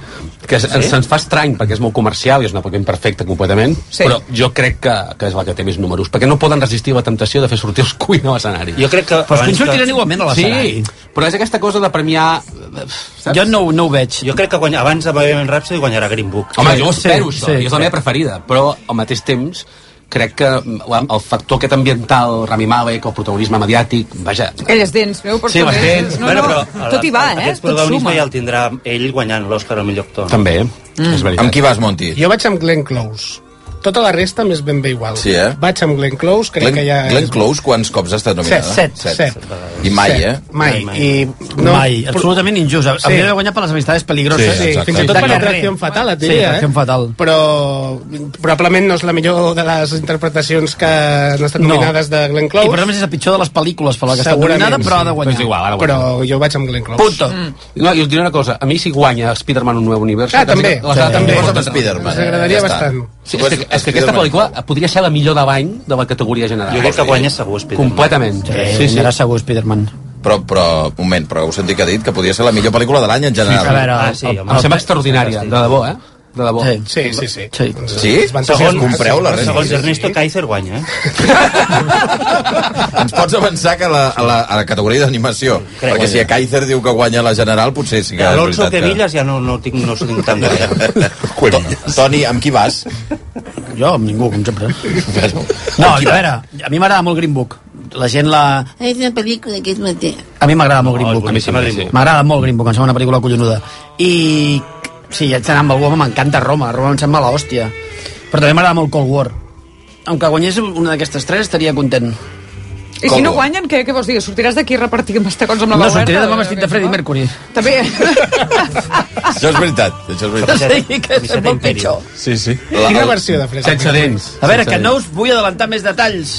Speaker 4: Que sí?
Speaker 7: Sí?
Speaker 4: se'ns fa estrany perquè és molt comercial i és una pel·lícula imperfecta completament, sí. però jo crec que, que és la que té més números, perquè no poden resistir la temptació de fer sortir els Queen a l'escenari.
Speaker 7: Jo crec que...
Speaker 21: Però els Queen sortiran igualment a l'escenari.
Speaker 4: Sí, però és aquesta cosa de premiar... Saps?
Speaker 21: Jo no, no ho veig.
Speaker 7: Jo crec que guanya, abans de Bohemian Rhapsody guanyarà Green Book.
Speaker 4: Home, jo ho espero, sí, això, sí, és la meva preferida, però al mateix temps crec que la, el factor aquest ambiental, Rami Malek, el protagonisme mediàtic, vaja...
Speaker 25: Aquelles dents, veu? Per
Speaker 4: Sí,
Speaker 25: sobre.
Speaker 4: les dents.
Speaker 25: No,
Speaker 4: Bueno,
Speaker 25: no,
Speaker 4: però-
Speaker 25: tot hi va, eh?
Speaker 7: Aquest
Speaker 25: Tot
Speaker 7: protagonisme
Speaker 25: suma.
Speaker 7: ja el tindrà ell guanyant l'Oscar al millor actor.
Speaker 4: També,
Speaker 25: Mm. és
Speaker 22: veritat. Amb qui vas, Monti?
Speaker 16: Jo vaig amb Glenn Close. Tota la resta m'és ben bé igual.
Speaker 22: Sí, eh?
Speaker 16: Vaig amb Glenn Close, crec
Speaker 22: Glenn,
Speaker 16: que ja...
Speaker 22: Glenn Close, quants cops ha estat nominada?
Speaker 16: Set, set,
Speaker 22: I mai,
Speaker 16: Set,
Speaker 22: eh?
Speaker 16: Mai. I
Speaker 21: No, mai, absolutament injust. Sí. Hauria de guanyar per les amistades peligroses.
Speaker 16: Sí, sí, fins i tot per l'atracció fatal, et
Speaker 21: Sí,
Speaker 16: diria.
Speaker 21: atracció
Speaker 16: eh?
Speaker 21: fatal.
Speaker 16: Però probablement no és la millor de les interpretacions que han estat nominades de Glenn Close.
Speaker 21: I per més és la pitjor de les pel·lícules per la que ha estat nominada, però ha de
Speaker 4: Però és
Speaker 21: guanyar.
Speaker 4: Doncs igual, ha de guanyar.
Speaker 16: Però jo vaig amb Glenn Close.
Speaker 4: Punto. No, i us diré una cosa, a mi si guanya Spider-Man un nou univers...
Speaker 16: Ah, també,
Speaker 4: Les
Speaker 16: també.
Speaker 4: també.
Speaker 16: Posa't Spider-Man,
Speaker 7: eh,
Speaker 16: Ens agradaria ja està. bastant.
Speaker 4: Sí, és, que, és que aquesta pel·lícula podria ser la millor de l'any de la categoria general.
Speaker 7: Jo crec que guanya segur Spider-Man.
Speaker 4: Completament.
Speaker 21: Sí, sí. Guanyarà segur Spider-Man.
Speaker 22: Però, però, un moment, però heu sentit que ha dit que podria ser la millor pel·lícula de l'any en general.
Speaker 21: a veure, Ah, sí, el- home. em sembla
Speaker 4: extraordinària, de debò, eh? De debò.
Speaker 16: Sí, sí, sí.
Speaker 21: Sí?
Speaker 22: Sí? Segons, compreu la resta.
Speaker 7: Segons Ernesto Kaiser guanya, eh?
Speaker 22: Ens pots avançar que a la, a la, a la categoria d'animació. Perquè si a Kaiser diu que guanya la general, potser sí que és
Speaker 7: L'Alonso
Speaker 22: veritat que...
Speaker 7: Quevillas ja no, no, tinc, no ho tinc tan gaire.
Speaker 22: To- Toni, amb qui vas?
Speaker 21: Jo, amb ningú, com sempre. No, a veure, a mi m'agrada molt Green Book. La gent la...
Speaker 33: Es una película que es maté.
Speaker 21: A mi m'agrada molt Green
Speaker 33: és
Speaker 21: Book.
Speaker 33: boníssima, Green Book.
Speaker 21: M'agrada molt Green Book, em sembla una pel·lícula collonuda. I si sí, haig d'anar amb algú, home, m'encanta Roma. Roma em sembla l'hòstia. Però també m'agrada molt Cold War. Aunque guanyés una d'aquestes tres, estaria content.
Speaker 25: I si no guanyen, què, què vols dir? Sortiràs d'aquí repartint bastacons amb la
Speaker 21: No,
Speaker 25: Bauerta?
Speaker 21: sortiré demà vestit de Freddie Mercury.
Speaker 25: També.
Speaker 22: Això és veritat, això és veritat.
Speaker 21: Sí, que és molt pitjor.
Speaker 22: Sí, sí.
Speaker 21: Quina versió de Fresno?
Speaker 22: Sense dents.
Speaker 21: A veure, que no us vull adelantar més detalls.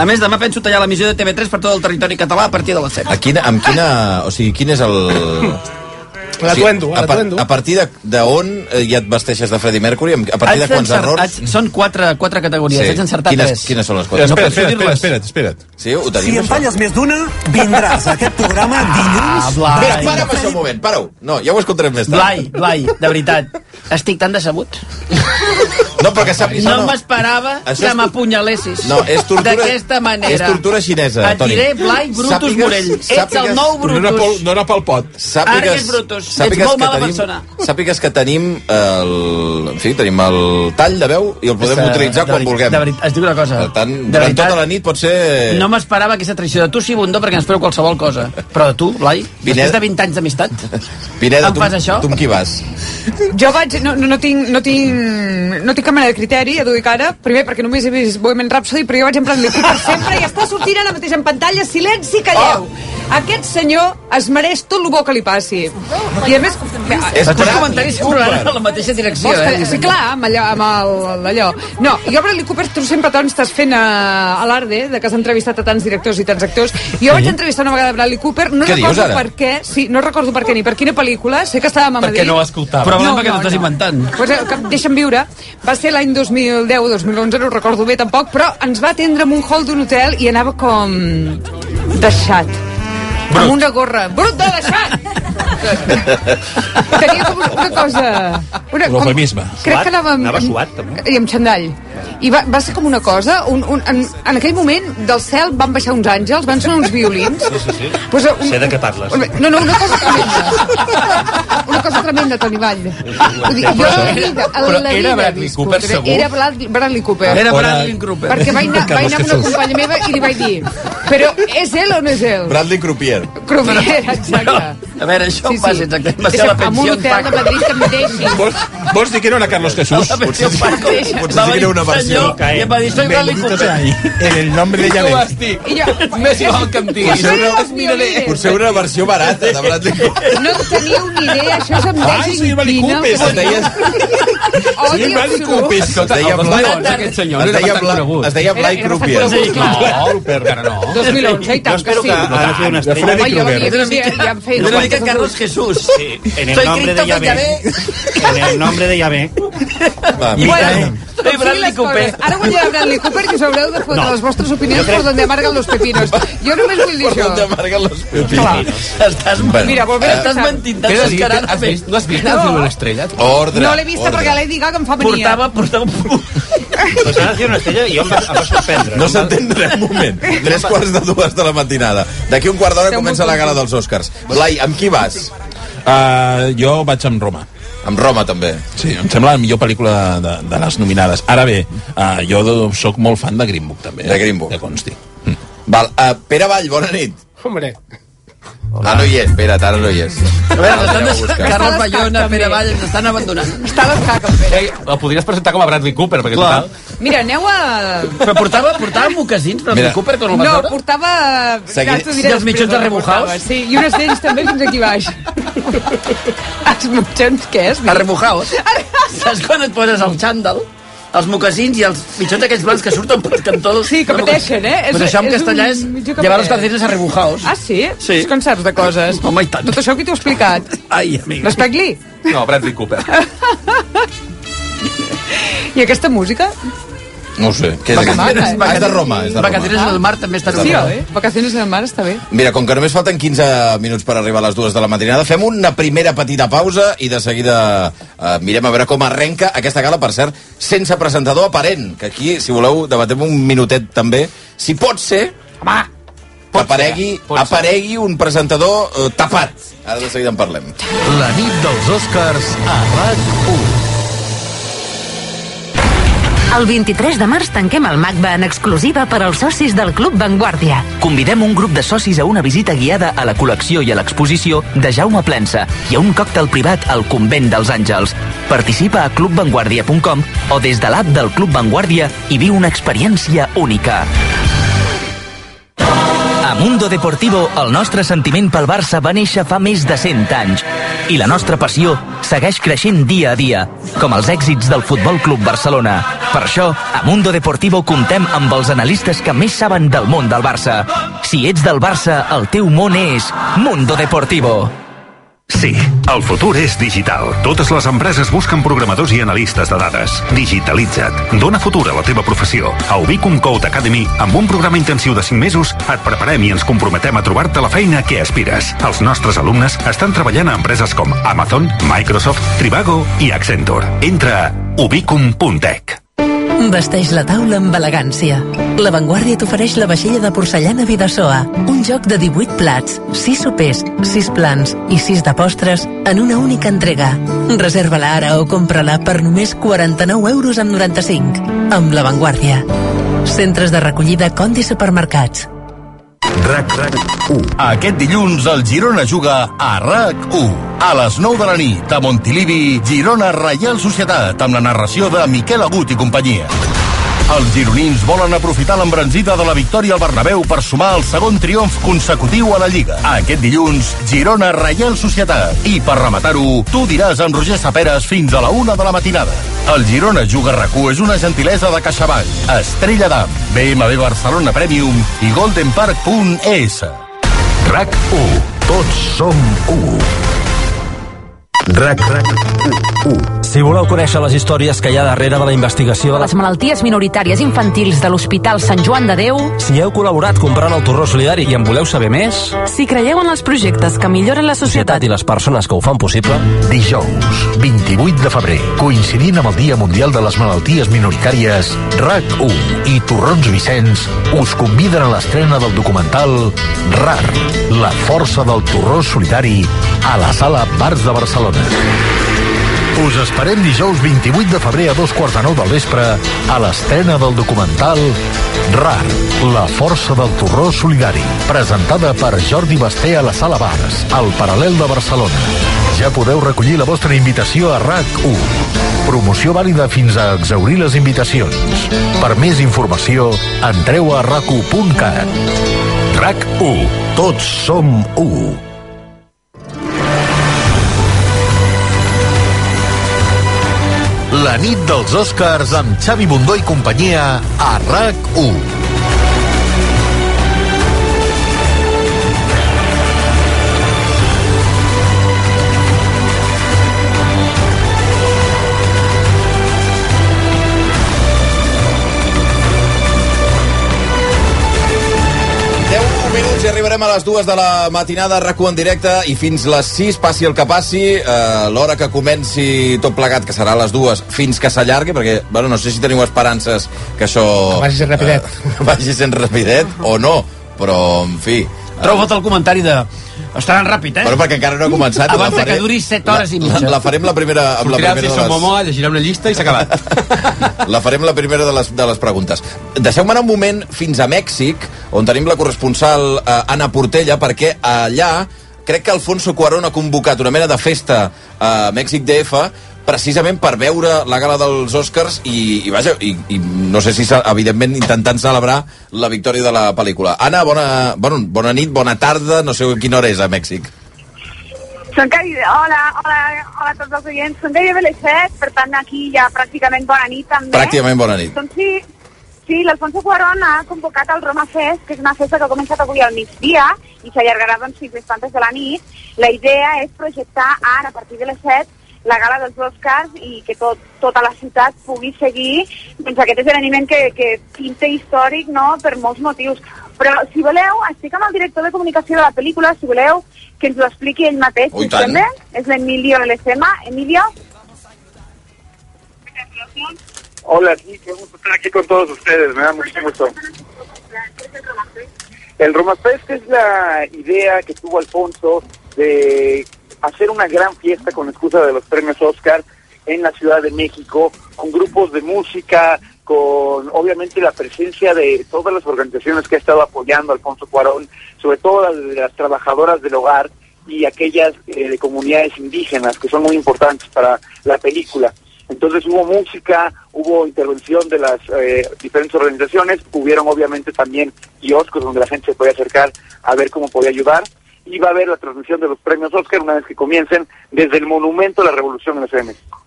Speaker 21: A més, demà penso tallar l'emissió de TV3 per tot el territori català a partir de les 7.
Speaker 22: A quina, amb quina... O sigui, quin és el...
Speaker 21: La Tuendo, la
Speaker 22: a, par-
Speaker 21: Tuendo.
Speaker 22: a partir de- d'on eh, ja et vesteixes de Freddie Mercury? Amb- A partir de quants errors?
Speaker 21: Són quatre, quatre categories, sí. haig encertat
Speaker 22: quines,
Speaker 21: tres.
Speaker 22: quines són les quatre?
Speaker 21: No penso dir-les.
Speaker 22: espera't. Sí, ho tenim,
Speaker 34: Si en
Speaker 22: això?
Speaker 34: falles més d'una, vindràs a aquest programa dilluns.
Speaker 21: Ah, Blai.
Speaker 22: Bé, para'm això un moment, para-ho. No, ja ho escoltarem més tard.
Speaker 21: Blai, Blai, de veritat, estic tan decebut.
Speaker 22: No, però que sàpigues...
Speaker 21: No, m'esperava
Speaker 22: Això
Speaker 21: que
Speaker 22: és-
Speaker 21: m'apunyalessis
Speaker 22: No, és tortura...
Speaker 21: d'aquesta manera.
Speaker 22: És tortura xinesa,
Speaker 21: Et
Speaker 22: Toni.
Speaker 21: diré, Blai, Brutus Morell, ets el nou Brutus. No era pel-
Speaker 22: no era pel pot. Sàpigues,
Speaker 21: Ara que és Brutus, ets
Speaker 22: sàpigues
Speaker 21: molt
Speaker 22: que
Speaker 21: mala
Speaker 22: tenim,
Speaker 21: persona.
Speaker 22: Sàpigues que tenim el... En fi, tenim el tall de veu i el
Speaker 21: És,
Speaker 22: podem
Speaker 21: eh,
Speaker 22: utilitzar
Speaker 21: de
Speaker 22: quan
Speaker 21: veri-
Speaker 22: vulguem.
Speaker 21: de veritat, es diu una cosa.
Speaker 22: Per tant,
Speaker 21: De
Speaker 22: durant
Speaker 21: veritat.
Speaker 22: tota la nit pot ser...
Speaker 4: Eh.
Speaker 21: No m'esperava aquesta traïció de tu, sí, Bundó, perquè n'espero qualsevol cosa. Però de tu, Blai, després de 20 anys d'amistat,
Speaker 22: Pineda,
Speaker 21: em
Speaker 22: tu,
Speaker 21: fas això?
Speaker 22: tu amb qui vas?
Speaker 25: Jo vaig... No, no, no, tinc, no, tinc, no tinc cap mena de criteri, ja t'ho dic ara. Primer, perquè només he vist Bohemian Rhapsody, però jo vaig en plan d'aquí per sempre i està sortint ara mateix en pantalla. Silenci, calleu!
Speaker 21: Oh.
Speaker 25: Aquest senyor es mereix tot el bo que li passi. I a més...
Speaker 21: Els teus comentaris sempre van a la mateixa direcció,
Speaker 25: Vols que-
Speaker 21: eh?
Speaker 25: Sí, clar, amb allò... Amb el, allò. No, jo a Bradley Cooper tu sempre Toni, estàs fent a, a l'Arde, de que has entrevistat a tants directors i tants actors. Jo vaig entrevistar una vegada Bradley Cooper, no
Speaker 4: Què dius,
Speaker 25: recordo
Speaker 4: ara?
Speaker 25: per què, sí, no recordo per què ni per quina pel·lícula, sé que estàvem a Madrid.
Speaker 4: Perquè no l'escoltava.
Speaker 25: No,
Speaker 4: Probablement perquè
Speaker 25: no,
Speaker 4: t'ho estàs
Speaker 25: no.
Speaker 4: inventant.
Speaker 25: Pues, eh, que- deixa'm viure. Va ser l'any 2010-2011, no ho recordo bé tampoc, però ens va atendre en un hall d'un hotel i anava com... deixat. Brut. Amb una gorra. Brut de deixat! Tenia com una cosa... Una, com, crec que anava... amb-
Speaker 7: Anava suat, també.
Speaker 25: i amb xandall. I va, va ser com una cosa, un, un, en, en aquell moment del cel van baixar uns àngels, van sonar uns violins.
Speaker 7: Sí, sí, sí.
Speaker 25: Posa un-
Speaker 7: Sé de què parles.
Speaker 25: No, no, una cosa tremenda. Una cosa tremenda, Toni Vall. Vull dir, jo a la vida, a
Speaker 13: Però
Speaker 25: la
Speaker 13: era
Speaker 25: vida
Speaker 13: Bradley
Speaker 25: discutiré.
Speaker 13: Cooper, segur?
Speaker 25: Era Bradley, Bradley Cooper.
Speaker 13: Era Bradley Cooper.
Speaker 25: Perquè vaig anar, vaig
Speaker 22: Carlos
Speaker 25: anar amb una
Speaker 22: Jesús.
Speaker 25: companya meva i li vaig dir però és ell o no és ell?
Speaker 22: Bradley Crupier.
Speaker 25: Crupier, exacte.
Speaker 21: A veure, això sí, sí. passa exactament. Va
Speaker 25: És
Speaker 21: ser la
Speaker 25: amb un
Speaker 21: pensió en
Speaker 25: hotel de
Speaker 21: Paco.
Speaker 25: Madrid que em deixi.
Speaker 17: Vols dir que era una Carlos Jesús?
Speaker 21: Potser sí que
Speaker 22: era una versió.
Speaker 21: senyor i em va dir, soy Carlitos.
Speaker 22: En el nombre de
Speaker 21: Com
Speaker 22: Janet.
Speaker 21: estic?
Speaker 25: I jo,
Speaker 21: Més igual que em diguis.
Speaker 22: Potser una-
Speaker 25: Els miraré.
Speaker 22: Potser una versió barata de Bradley Cooper.
Speaker 25: No en teniu ni idea, això és
Speaker 22: Ai,
Speaker 25: amb més
Speaker 22: senyor Bradley
Speaker 25: inquina.
Speaker 22: Cooper, se'n deia-
Speaker 25: Odi absolut.
Speaker 22: Escolta,
Speaker 4: Ah,
Speaker 22: el 2011 aquest senyor no era tan conegut. Era- era bastant conegut. No,
Speaker 4: Cooper, encara no.
Speaker 25: 2011, i tant
Speaker 7: Jo espero
Speaker 25: que sí.
Speaker 7: que ara sigui una estrella.
Speaker 25: Home, jo havia-
Speaker 7: Una mica-
Speaker 25: sí, ja em feia-
Speaker 7: una
Speaker 25: no,
Speaker 7: mica
Speaker 25: quan-
Speaker 7: Carlos
Speaker 21: Jesús.
Speaker 7: Sí, en el nombre de Yahvé. En el nombre de Yahvé.
Speaker 25: Bueno, Soy Bradley Cooper. Ara guanyarà Bradley Cooper i us haureu de fotre
Speaker 7: No.
Speaker 25: les vostres opinions
Speaker 7: Jo crec-
Speaker 25: per donde amargan los pepinos. Jo només vull dir això.
Speaker 21: Estàs,
Speaker 25: Bueno, Mira, volver a
Speaker 21: estàs
Speaker 25: pensar.
Speaker 21: mentint,
Speaker 4: eh, Què
Speaker 21: t'has
Speaker 4: has dit?
Speaker 21: escarat.
Speaker 4: Has vist? No has vist
Speaker 25: No.
Speaker 4: el film de l'estrella?
Speaker 22: Ordre.
Speaker 25: No l'he vista perquè la Lady Gaga em fa mania.
Speaker 21: Portava, portava
Speaker 7: Pues ara sigui una estrella i jo em va, em va sorprendre.
Speaker 22: No s'entendrà un moment. Tres quarts de dues de la matinada. D'aquí un quart d'hora comença la gala dels Oscars. Blai, amb qui vas?
Speaker 17: Uh, jo vaig amb Roma.
Speaker 22: Amb Roma, també.
Speaker 17: Sí, em sembla la millor pel·lícula de, de les nominades. Ara bé, uh, jo do- sóc molt fan de Green Book, també. eh,
Speaker 22: De Green Book.
Speaker 17: Que consti.
Speaker 22: Val, uh, Pere Vall, bona nit.
Speaker 35: Hombre.
Speaker 22: Hola. Ah, no hi és, Pere, ara no hi és.
Speaker 21: A veure, ens estan
Speaker 22: Ara
Speaker 21: deixant
Speaker 22: buscar.
Speaker 21: Carles Bayona, Pere Vall, ens estan abandonant.
Speaker 25: Està l'escac, el Pere.
Speaker 4: La podries presentar com a Bradley Cooper, perquè
Speaker 21: Clar.
Speaker 4: total...
Speaker 25: Mira, aneu a...
Speaker 21: Però portava, portava mocassins, però
Speaker 4: Mira.
Speaker 21: el Cooper, quan el vas
Speaker 25: No,
Speaker 21: veure?
Speaker 25: portava...
Speaker 21: Segui-
Speaker 25: Ja t'ho diré
Speaker 21: I els
Speaker 25: després
Speaker 21: mitjons de
Speaker 25: on
Speaker 21: remojaos?
Speaker 25: portava, Sí, i unes d'ells també fins aquí baix. els mitjons, què és?
Speaker 21: Arremojaos. Saps quan et poses el xandall? els mocassins i els mitjons aquells blancs que surten pels cantons. Sí,
Speaker 25: que pateixen, eh? És-
Speaker 21: Però això en
Speaker 25: és un
Speaker 21: castellà és
Speaker 25: mitjó que
Speaker 21: llevar els
Speaker 25: pateix.
Speaker 21: calcetines arrebujaos.
Speaker 25: Ah, sí?
Speaker 21: Sí.
Speaker 25: És com saps de coses.
Speaker 21: Home, i tant.
Speaker 25: Tot això que t'ho he explicat.
Speaker 21: Ai, amiga.
Speaker 25: L'espec Lee.
Speaker 4: No, Bradley Cooper.
Speaker 25: I aquesta música?
Speaker 22: No ho sé. Què és aquest?
Speaker 25: Vacaciones.
Speaker 22: Ah, és de Roma. És de
Speaker 25: Vacaciones
Speaker 22: Roma.
Speaker 25: en
Speaker 21: El mar també està...
Speaker 25: Sí, oi? Vacaciones en el mar està bé.
Speaker 22: Mira, com que només falten 15 minuts per arribar a les dues de la matinada, fem una primera petita pausa i de seguida eh, mirem a veure com arrenca aquesta gala, per cert, sense presentador aparent, que aquí, si voleu, debatem un minutet també, si pot ser... Home! Pot aparegui, pot aparegui un presentador eh, tapat. Ara de seguida en parlem.
Speaker 3: La nit dels Oscars a RAC1.
Speaker 13: El 23 de març tanquem el MACBA en exclusiva per als socis del Club Vanguardia.
Speaker 36: Convidem un grup de socis a una visita guiada a la col·lecció i a l'exposició de Jaume Plensa i a un còctel privat al Convent dels Àngels. Participa a clubvanguardia.com o des de l'app del Club Vanguardia i viu una experiència única. A Mundo Deportivo, el nostre sentiment pel Barça va néixer fa més de 100 anys i la nostra passió segueix creixent dia a dia, com els èxits del Futbol Club Barcelona. Per això, a Mundo Deportivo comptem amb els analistes que més saben del món del Barça. Si ets del Barça, el teu món és Mundo Deportivo.
Speaker 9: Sí, el futur és digital. Totes les empreses busquen programadors i analistes de dades. Digitalitza't. Dóna futur a la teva professió. A Ubicum Code Academy, amb un programa intensiu de 5 mesos, et preparem i ens comprometem a trobar-te la feina que aspires. Els nostres alumnes estan treballant a empreses com Amazon, Microsoft, Trivago i Accenture. Entra a ubicum.tech.
Speaker 20: Vesteix la taula amb elegància. La Vanguardia t'ofereix la vaixella de porcellana Vidasoa, un joc de 18 plats, 6 sopers, 6 plans i 6 de postres en una única entrega. Reserva-la ara o compra-la per només 49 euros amb 95. Amb La Vanguardia. Centres de recollida Condi Supermercats.
Speaker 3: RAC, RAC 1. Aquest dilluns el Girona juga a RAC 1. A les 9 de la nit, a Montilivi, Girona Reial Societat, amb la narració de Miquel Agut i companyia. Els gironins volen aprofitar l'embranzida de la victòria al Bernabéu per sumar el segon triomf consecutiu a la Lliga. Aquest dilluns, Girona Reial Societat. I per rematar-ho, tu diràs amb Roger Saperes fins a la una de la matinada. El Girona Juga RAC1 és una gentilesa de CaixaBank, Estrella d'Am, BMW Barcelona Premium i goldenpark.es.
Speaker 9: RAC1. Tots som u. RAC, RAC, U, U. Si voleu conèixer les històries que hi ha darrere de la investigació de
Speaker 13: Les malalties minoritàries infantils de l'Hospital Sant Joan de Déu
Speaker 9: Si heu col·laborat comprant el torró solidari i en voleu saber més,
Speaker 13: Si creieu en els projectes que milloren la
Speaker 9: societat i les persones que ho fan possible,
Speaker 20: Dijous, 28 de febrer, coincidint amb el Dia Mundial de les Malalties Minoritàries, RAC1 i Torrons Vicenç us conviden a l'estrena del documental RAR, la força del torró solidari, a la sala Bars de Barcelona. Us esperem dijous 28 de febrer a dos quarts de nou del vespre a l'estrena del documental RAR, la força del torró solidari, presentada per Jordi Basté a la Sala Bars, al Paral·lel de Barcelona. Ja podeu recollir la vostra invitació a RAC1. Promoció vàlida fins a exaurir les invitacions. Per més informació, entreu a racu.cat. RAC1. Tots som u. La nit dels Oscars amb Xavi Bundó i companyia a RAC1.
Speaker 22: minuts i arribarem a les dues de la matinada rac en directe i fins les 6 passi el que passi eh, l'hora que comenci tot plegat que serà a les dues fins que s'allargui perquè bueno, no sé si teniu esperances que això
Speaker 16: Que vagi sent rapidet.
Speaker 22: eh, vagi sent rapidet o no però en fi eh,
Speaker 30: Troba't el comentari de... Estaran ràpid, eh?
Speaker 22: Però perquè encara no ha començat.
Speaker 30: Abans
Speaker 22: La
Speaker 30: de
Speaker 22: faré-
Speaker 30: que duri 7 hores i mitja.
Speaker 22: La, la farem la primera... Amb la
Speaker 30: Sortirà
Speaker 22: primera
Speaker 30: Jason Momoa,
Speaker 22: llegirà una llista i s'ha acabat. la farem la primera de les, de les preguntes. Deixeu-me anar un moment fins a Mèxic, on tenim la corresponsal eh, Anna Portella, perquè allà crec que Alfonso Cuarón ha convocat una mena de festa eh, a Mèxic DF precisament per veure la gala dels Oscars i, i vaja, i, i no sé si, s'ha- evidentment, intentant celebrar la victòria de la pel·lícula. Anna, bona, bueno, bona nit, bona tarda, no sé quina hora és a Mèxic.
Speaker 23: Són gairebé, hola, hola, hola a tots els oients. Són gairebé les 7, per tant aquí ja pràcticament bona nit també.
Speaker 22: Pràcticament bona nit.
Speaker 23: Doncs sí, sí l'Alfonso Cuarón ha convocat el Roma Fest, que és una festa que ha començat avui al migdia i s'allargarà doncs, fins les tantes de la nit. La idea és projectar ara, a partir de les 7, la gala dels Oscars i que tot, tota la ciutat pugui seguir doncs, aquest esdeveniment que, que pinta històric no? per molts motius. Però, si voleu, estic amb el director de comunicació de la pel·lícula, si voleu que ens ho expliqui ell mateix,
Speaker 22: Oh, i
Speaker 23: si us
Speaker 22: tant.
Speaker 23: sembla. És l'Emilio Lecema. Emilio,
Speaker 1: Hola, sí, qué gusto estar aquí con todos ustedes, me da mucho gusto. El Roma Fest es la idea que tuvo Alfonso de hacer una gran fiesta con excusa de los premios Oscar en la Ciudad de México, con grupos de música, con obviamente la presencia de todas las organizaciones que ha estado apoyando a Alfonso Cuarón, sobre todo las, de las trabajadoras del hogar y aquellas eh, de comunidades indígenas que son muy importantes para la película. Entonces hubo música, hubo intervención de las eh, diferentes organizaciones, hubieron obviamente también kioscos donde la gente se podía acercar a ver cómo podía ayudar y va a haber la transmisión de los premios Oscar una vez que comiencen desde el Monumento a la Revolución en la Ciudad de México.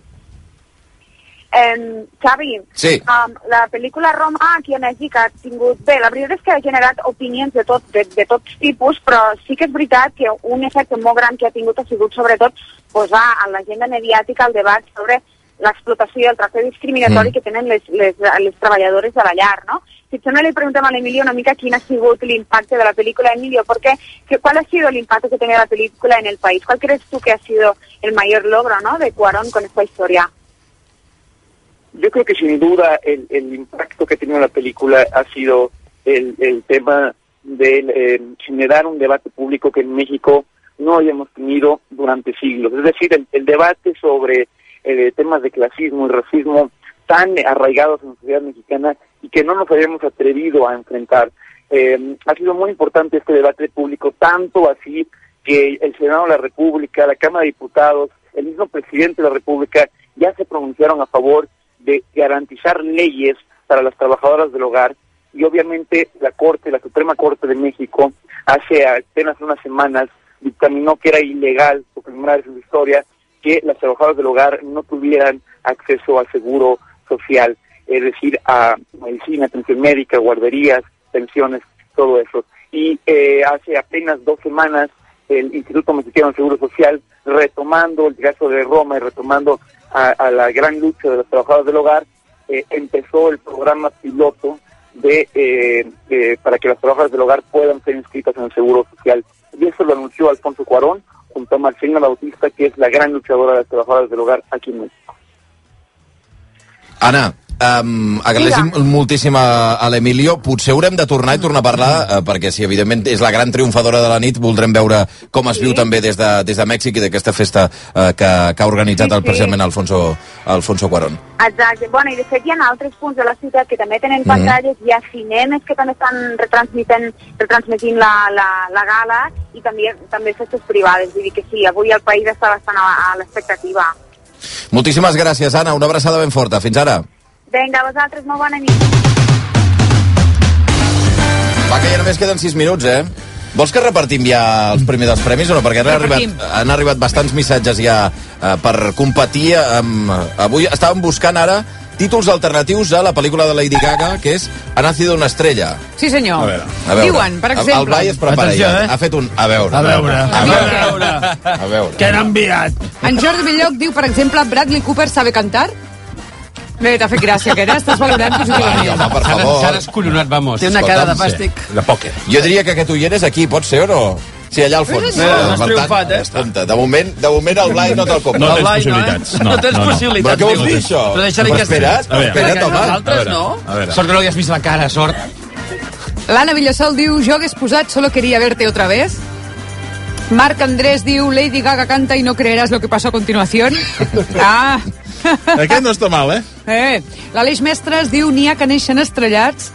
Speaker 23: eh, Xavi,
Speaker 1: Sí.
Speaker 23: um, la pel·lícula Roma aquí a Mèxic ha tingut... Bé, la veritat és que ha generat opinions de, tot, de, de tots tipus, però sí que és veritat que un efecte molt gran que ha tingut ha sigut sobretot posar en l'agenda mediàtica el debat sobre l'explotació i el tracte discriminatori
Speaker 2: Mm.
Speaker 23: que tenen les, les, les treballadores de la llar, no? Si et sembla, li preguntem a l'Emilio una mica quin ha sigut l'impacte de la pel·lícula, Emilio, porque que, ¿cuál ha sido el impacto que tiene la película en el país? ¿Cuál crees tú que ha sido el mayor logro, no?, de Cuarón con esta historia.
Speaker 1: Yo creo que sin duda el, el impacto que ha tenido la película ha sido el, el tema de eh, generar un debate público que en México no habíamos tenido durante siglos. Es decir, el, el debate sobre eh, temas de clasismo y racismo tan arraigados en la sociedad mexicana y que no nos habíamos atrevido a enfrentar. Eh, ha sido muy importante este debate público, tanto así que el Senado de la República, la Cámara de Diputados, el mismo presidente de la República ya se pronunciaron a favor de garantizar leyes para las trabajadoras del hogar y obviamente la Corte, la Suprema Corte de México, hace apenas unas semanas dictaminó que era ilegal, por primera vez en la historia, que las trabajadoras del hogar no tuvieran acceso al seguro social, es decir, a medicina, atención médica, guarderías, pensiones, todo eso. Y eh, hace apenas dos semanas el Instituto Mexicano del Seguro Social, retomando el caso de Roma y retomando a, a la gran lucha de los trabajadores del hogar, eh, empezó el programa piloto de eh, eh, para que las trabajadoras del hogar puedan ser inscritas en el Seguro Social. Y eso lo anunció Alfonso Cuarón junto a Marcelina Bautista, que es la gran luchadora de las trabajadoras del hogar aquí en México.
Speaker 22: Anna, um, agraeixem moltíssim a, a l'Emilio. Potser haurem de tornar i tornar a parlar,
Speaker 23: Mm-hmm.
Speaker 22: eh, perquè si evidentment és la gran triomfadora de la nit, voldrem veure com es viu també des de, des de Mèxic i d'aquesta festa eh, que, que ha organitzat
Speaker 23: Sí,
Speaker 22: el
Speaker 23: sí.
Speaker 22: precisament Alfonso, Alfonso Cuarón.
Speaker 23: Exacte. Bueno, i de fet hi ha altres punts de la ciutat que també tenen pantalles, hi ha cinemes que també estan retransmitent, retransmitint la, la, la gala i també, també festes privades. Vull dir que sí, avui el país està bastant a, a l'expectativa.
Speaker 22: Moltíssimes gràcies, Anna. Una abraçada ben forta. Fins ara.
Speaker 23: Vinga, vosaltres, molt bona nit.
Speaker 22: Va, que ja només queden 6 minuts, eh? Vols que repartim ja els primers dels premis o no? Perquè han
Speaker 37: Repartim.
Speaker 22: arribat, han arribat bastants missatges ja eh, per competir amb... eh, Avui estàvem buscant ara títols alternatius a la pel·lícula de Lady Gaga, que és Ha nacido una estrella.
Speaker 25: Sí, senyor.
Speaker 22: A veure.
Speaker 25: Diuen, per
Speaker 22: El-
Speaker 25: exemple...
Speaker 22: El Blai es prepara
Speaker 3: Atenció,
Speaker 22: ja.
Speaker 3: eh?
Speaker 22: Ha fet un... A veure.
Speaker 3: A veure.
Speaker 22: A veure. A
Speaker 21: eh?
Speaker 22: veure.
Speaker 3: Què n'ha enviat?
Speaker 25: En Jordi Belloc diu, per exemple, Bradley Cooper sabe cantar? Bé, t'ha fet gràcia, que ara estàs valorant positivament.
Speaker 22: Home, per favor.
Speaker 4: S'ha descollonat, vamos.
Speaker 25: Té una cara de
Speaker 4: Escolta'm,
Speaker 25: fàstic.
Speaker 4: sí. De pòquer.
Speaker 22: Jo diria que aquest ulleres aquí pot ser o no? Sí, allà al fons.
Speaker 4: Sí, sí, sí. Has
Speaker 22: Per tant,
Speaker 4: triomfat, eh?
Speaker 22: escolta, de moment, de moment el Blai no te'l compra.
Speaker 17: No tens
Speaker 21: eh?
Speaker 17: possibilitats. No, no, no.
Speaker 22: Però què vols dir, això?
Speaker 4: Però deixa-li
Speaker 22: Però
Speaker 4: que
Speaker 22: espera't,
Speaker 4: estigui.
Speaker 22: espera't, home.
Speaker 4: Nosaltres no.
Speaker 17: A veure.
Speaker 4: Sort que no li has vist la cara, sort.
Speaker 25: L'Anna Villasol diu, jo hagués posat Solo quería verte otra vez. Marc Andrés diu, Lady Gaga canta y no creerás lo que pasó a continuación. Ah,
Speaker 17: Aquest no està mal, eh?
Speaker 25: eh. L'Aleix Mestres diu, n'hi ha que neixen estrellats.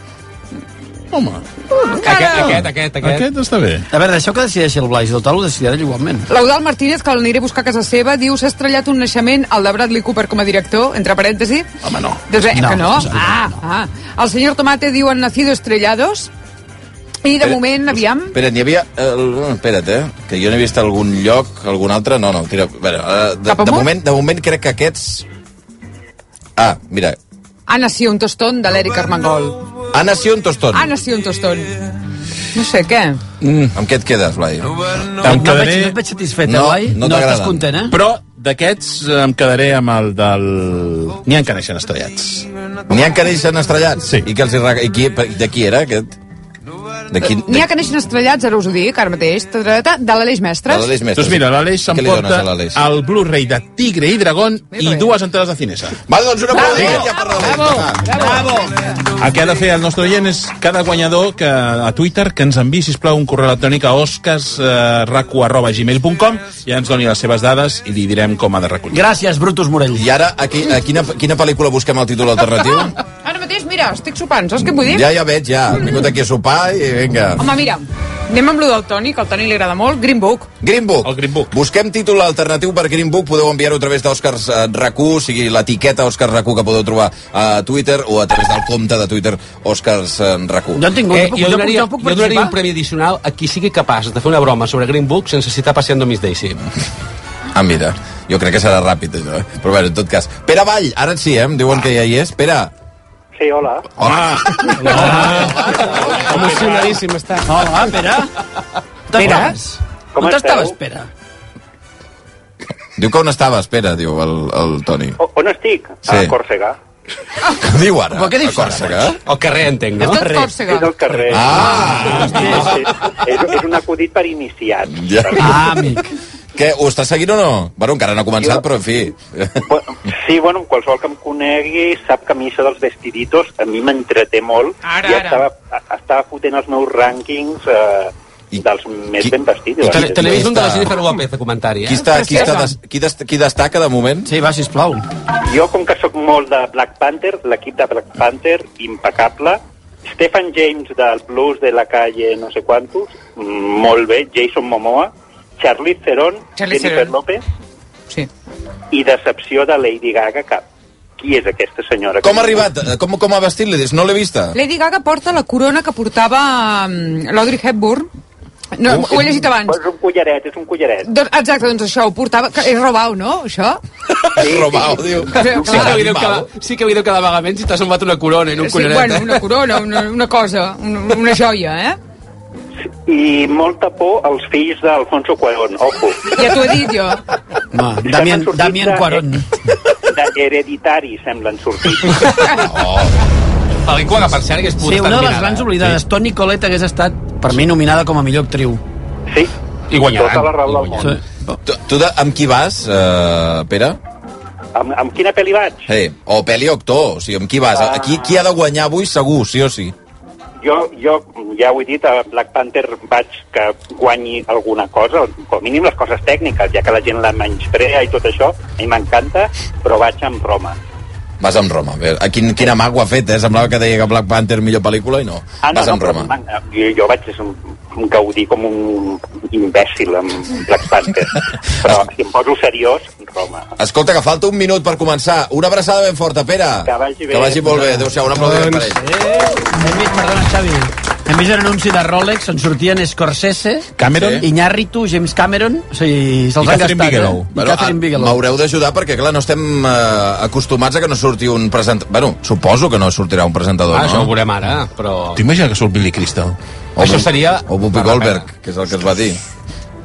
Speaker 17: Home.
Speaker 25: Aquest,
Speaker 4: Aquest, aquest, aquest.
Speaker 17: Aquest està bé.
Speaker 21: A veure, deixeu que decideixi el Blai, si el tal ho decidirà ell igualment.
Speaker 25: L'Eudal Martínez, que l'aniré a buscar a casa seva, diu s'ha estrellat un naixement al de Bradley Cooper com a director, entre parèntesi. Home, no. Doncs, eh,
Speaker 21: No,
Speaker 25: no, que no?
Speaker 21: no.
Speaker 25: Ah, ah. El senyor Tomate diu han nacido estrellados. I de
Speaker 22: Espera.
Speaker 25: moment, aviam...
Speaker 22: Espera, n'hi havia... eh, Espera't, eh? Que jo n'he vist algun lloc, algun altre... No, no, tira... a Veure, eh, de, de, moment, de moment crec que aquests... Ah, mira.
Speaker 25: Ha nacido un tostón de l'Eric Armengol.
Speaker 22: Ha nacido un tostón.
Speaker 25: Ha nacido un tostón. No sé, què?
Speaker 22: Mm. Amb què et quedes, Blai?
Speaker 17: Em quedaré...
Speaker 21: no et veig satisfet,
Speaker 17: No,
Speaker 21: eh, Blai?
Speaker 17: no
Speaker 21: no
Speaker 17: t'agraden.
Speaker 21: estàs content, eh?
Speaker 17: Però d'aquests eh, em quedaré amb el del... N'hi ha que neixen estrellats.
Speaker 22: N'hi ha que neixen estrellats? Sí. I, que els hi rega... I qui, de qui era, aquest? De quin...
Speaker 25: N'hi ha que neixen estrellats, ara us ho dic, ara mateix, tadadata, de l'Aleix Mestres.
Speaker 17: Doncs mira, l'Aleix
Speaker 22: Què li dones
Speaker 17: s'emporta
Speaker 22: a l'Aleix?
Speaker 17: el Blu-ray de Tigre i Dragón i dues entrades de Cinesa.
Speaker 22: Vale, doncs un aplaudiment
Speaker 17: Vinga.
Speaker 22: ja per l'Aleix. Bravo,
Speaker 25: bravo.
Speaker 17: El que ha de fer el nostre oient és cada guanyador que a Twitter que ens enviï, sisplau, un correu electrònic a eh, oscasracu.gmail.com i ja ens doni les seves dades i li direm com ha de recollir.
Speaker 21: Gràcies, Brutus Morell.
Speaker 22: I ara, a, qui, a quina, quina pel·lícula busquem el títol alternatiu?
Speaker 25: Ara mateix, mira, estic sopant, saps què vull dir?
Speaker 22: Ja, ja veig, ja. Hem vingut aquí a sopar i vinga.
Speaker 25: Home, mira, anem amb lo del Toni, que al Toni li agrada molt, Green Book.
Speaker 22: Green Book. El Green Book. Busquem títol alternatiu per Green Book, podeu enviar-ho a través d'Òscars eh, RAC1, o sigui l'etiqueta Òscars RAC1 que podeu trobar a Twitter o a través del compte de Twitter Òscars eh, RAC1.
Speaker 4: eh, jo, donaria, jo, donaria un premi addicional a qui sigui capaç de fer una broma sobre Green Book sense citar Passeando Miss Daisy.
Speaker 22: Ah, mira, jo crec que serà ràpid, això. eh? Però bueno, en tot cas. Pere Vall, ara sí, eh? Em diuen que ja hi és. Pere. oh,
Speaker 9: Sí, hola.
Speaker 22: Hola.
Speaker 38: Emocionadíssim està.
Speaker 21: Hola, Pere.
Speaker 38: Pere?
Speaker 21: Com On t'estaves, Pere?
Speaker 22: Diu que on estava, espera, diu el, el Toni.
Speaker 9: O- On estic?
Speaker 22: Sí.
Speaker 9: A Còrsega.
Speaker 22: Diu ara.
Speaker 9: Però què dius
Speaker 22: a Còrsega?
Speaker 4: Al carrer, entenc,
Speaker 9: no? És tot
Speaker 25: Còrsega.
Speaker 9: És al carrer. Ah! Sí, sí. És, és un acudit per iniciats.
Speaker 22: Ja. Ah, amic. Què, ho estàs seguint o no? Bueno, encara no ha començat, però en fi.
Speaker 9: Sí, bueno, qualsevol que em conegui sap que a mi això dels vestiditos a mi m'entreté molt. Ara, I estava, a- estava fotent els meus rànquings eh, dels més ben vestits. eh?
Speaker 4: Te, te n'he vist un de la Jennifer López de comentari, eh?
Speaker 22: Qui, està, qui, està des, qui, des, qui destaca de moment?
Speaker 21: Sí, va, sisplau.
Speaker 9: Jo, com que sóc molt de Black Panther, l'equip de Black Panther, impecable. Stephen James, del blues de la calle no sé quantos, mm, molt bé. Jason Momoa, Charlize Theron,
Speaker 25: Charlize
Speaker 9: Jennifer
Speaker 25: Theron.
Speaker 9: López.
Speaker 25: Sí.
Speaker 9: I decepció de Lady Gaga, que qui és aquesta senyora?
Speaker 22: Com ha arribat? Com, com ha vestit? Li dius, no l'he vista.
Speaker 25: Lady Gaga porta la corona que portava mm, l'Audrey Hepburn. No, ho he llegit abans.
Speaker 9: Oh, És un collaret, és un collaret.
Speaker 25: Doncs, exacte, doncs això, ho portava... que És robau, no, això?
Speaker 22: Sí, Robau, diu.
Speaker 4: Sí que, li deu quedar, sí que li deu quedar vagament si t'ha semblat una corona i no un
Speaker 25: Sí,
Speaker 4: collaret.
Speaker 25: bueno, una corona, una, una cosa, una, una joia, eh?
Speaker 9: I molta por als fills d'Alfonso Cuarón, ojo.
Speaker 25: Ja t'ho he dit jo.
Speaker 21: Ma, Damien, Damien Cuarón.
Speaker 9: De hereditari semblen sortir.
Speaker 4: Pel·lícula que, per cert, hagués pogut
Speaker 21: Sí,
Speaker 4: estar
Speaker 21: una de les
Speaker 4: nominada,
Speaker 21: grans
Speaker 4: eh?
Speaker 21: oblidades. Sí. Toni Colette hagués estat, per mi, nominada com a millor actriu.
Speaker 9: Sí.
Speaker 4: I guanyaran. Tota la
Speaker 9: raó del
Speaker 21: món. Sí.
Speaker 22: Tu, tu de, amb qui vas, uh, Pere?
Speaker 9: Amb, amb quina pel·li vaig?
Speaker 22: Sí, o peli o actor, o sigui, amb qui vas?
Speaker 9: Ah.
Speaker 22: Aquí, qui ha de guanyar avui segur, sí o sí?
Speaker 9: Jo, jo ja ho he dit, a Black Panther vaig que guanyi alguna cosa, com a mínim les coses tècniques, ja que la gent la menysprea i tot això, a mi m'encanta, però vaig amb Roma.
Speaker 22: Vas amb Roma. Bé, A quin, quin amac ho ha fet, eh? Semblava que deia que Black Panther millor pel·lícula i no. vas amb
Speaker 9: però
Speaker 22: Roma.
Speaker 9: m'en- Jo, jo vaig és un, un gaudir com un imbècil amb Black Panther. Però si em poso seriós,
Speaker 39: Roma.
Speaker 22: Escolta, que falta un minut per començar. Una abraçada ben forta, Pere.
Speaker 39: Que vagi bé.
Speaker 22: Que vagi molt bé. Adéu-siau, un aplaudiment
Speaker 4: Doncs,
Speaker 22: per ell.
Speaker 4: eh,
Speaker 21: Hem vist, perdona, Xavi, hem vist un anunci de Rolex on sortien Scorsese,
Speaker 22: Cameron.
Speaker 21: sí. Iñárritu, James Cameron, o sigui, se'ls
Speaker 22: I
Speaker 21: han
Speaker 22: Catherine
Speaker 21: gastat.
Speaker 22: Bigelow.
Speaker 21: Eh? I Catherine Bigelow.
Speaker 22: ah, M'haureu d'ajudar perquè, clar, no estem eh, acostumats a que no surti un presentador. Bueno, suposo que no sortirà un presentador,
Speaker 4: Ah,
Speaker 22: no?
Speaker 4: això ho veurem ara, però...
Speaker 22: T'imagines que surt Billy Crystal? O
Speaker 4: Això
Speaker 22: Bu-
Speaker 4: seria-
Speaker 22: O Whoopi
Speaker 4: Barra
Speaker 22: Goldberg, que és el que es va dir.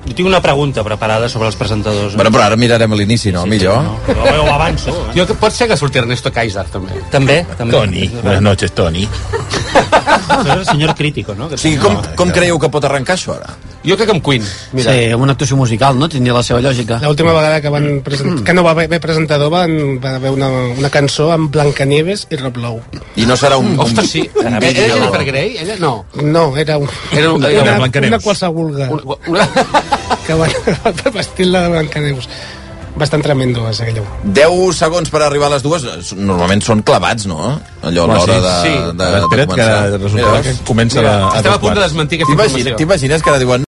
Speaker 9: Jo tinc una pregunta preparada sobre els presentadors. eh?
Speaker 22: Bueno, però ara mirarem a l'inici, no? Millor.
Speaker 9: Però ho avanço. Eh?
Speaker 4: Jo, pot ser que surti Ernesto Kaiser, també.
Speaker 9: També, també.
Speaker 17: Toni, buenas noches, Toni.
Speaker 9: Això és el senyor crítico, no?
Speaker 22: O sigui, com, com creieu que pot arrencar això, ara?
Speaker 4: Jo crec que amb Queen.
Speaker 21: Mira. Sí, amb una actuació musical, no? Tindria la seva lògica.
Speaker 16: L'última vegada que, van
Speaker 21: Mm.
Speaker 16: present... que no va haver presentador van, va haver una, una cançó amb Blancanieves i Rob Lowe.
Speaker 22: I no serà un...
Speaker 4: Ostres, sí. eh,
Speaker 16: un-
Speaker 4: Era
Speaker 16: un-
Speaker 4: Jennifer Grey? Ella no.
Speaker 16: No, era un...
Speaker 4: Era un- era
Speaker 16: una,
Speaker 4: Blancaneus.
Speaker 16: una qualsevol una,
Speaker 4: una...
Speaker 16: que van per vestir-la de Blancaneus. Bastant tremendo, és aquella.
Speaker 22: 10 segons per arribar a les dues eh, normalment són clavats, no? Allò a
Speaker 17: Home,
Speaker 22: l'hora
Speaker 17: sí.
Speaker 22: de,
Speaker 17: Sí.
Speaker 22: de, de,
Speaker 17: Espera't que
Speaker 22: començar.
Speaker 17: resultarà que comença la- a dos quarts.
Speaker 22: T'imagines- T'imagines que ara diuen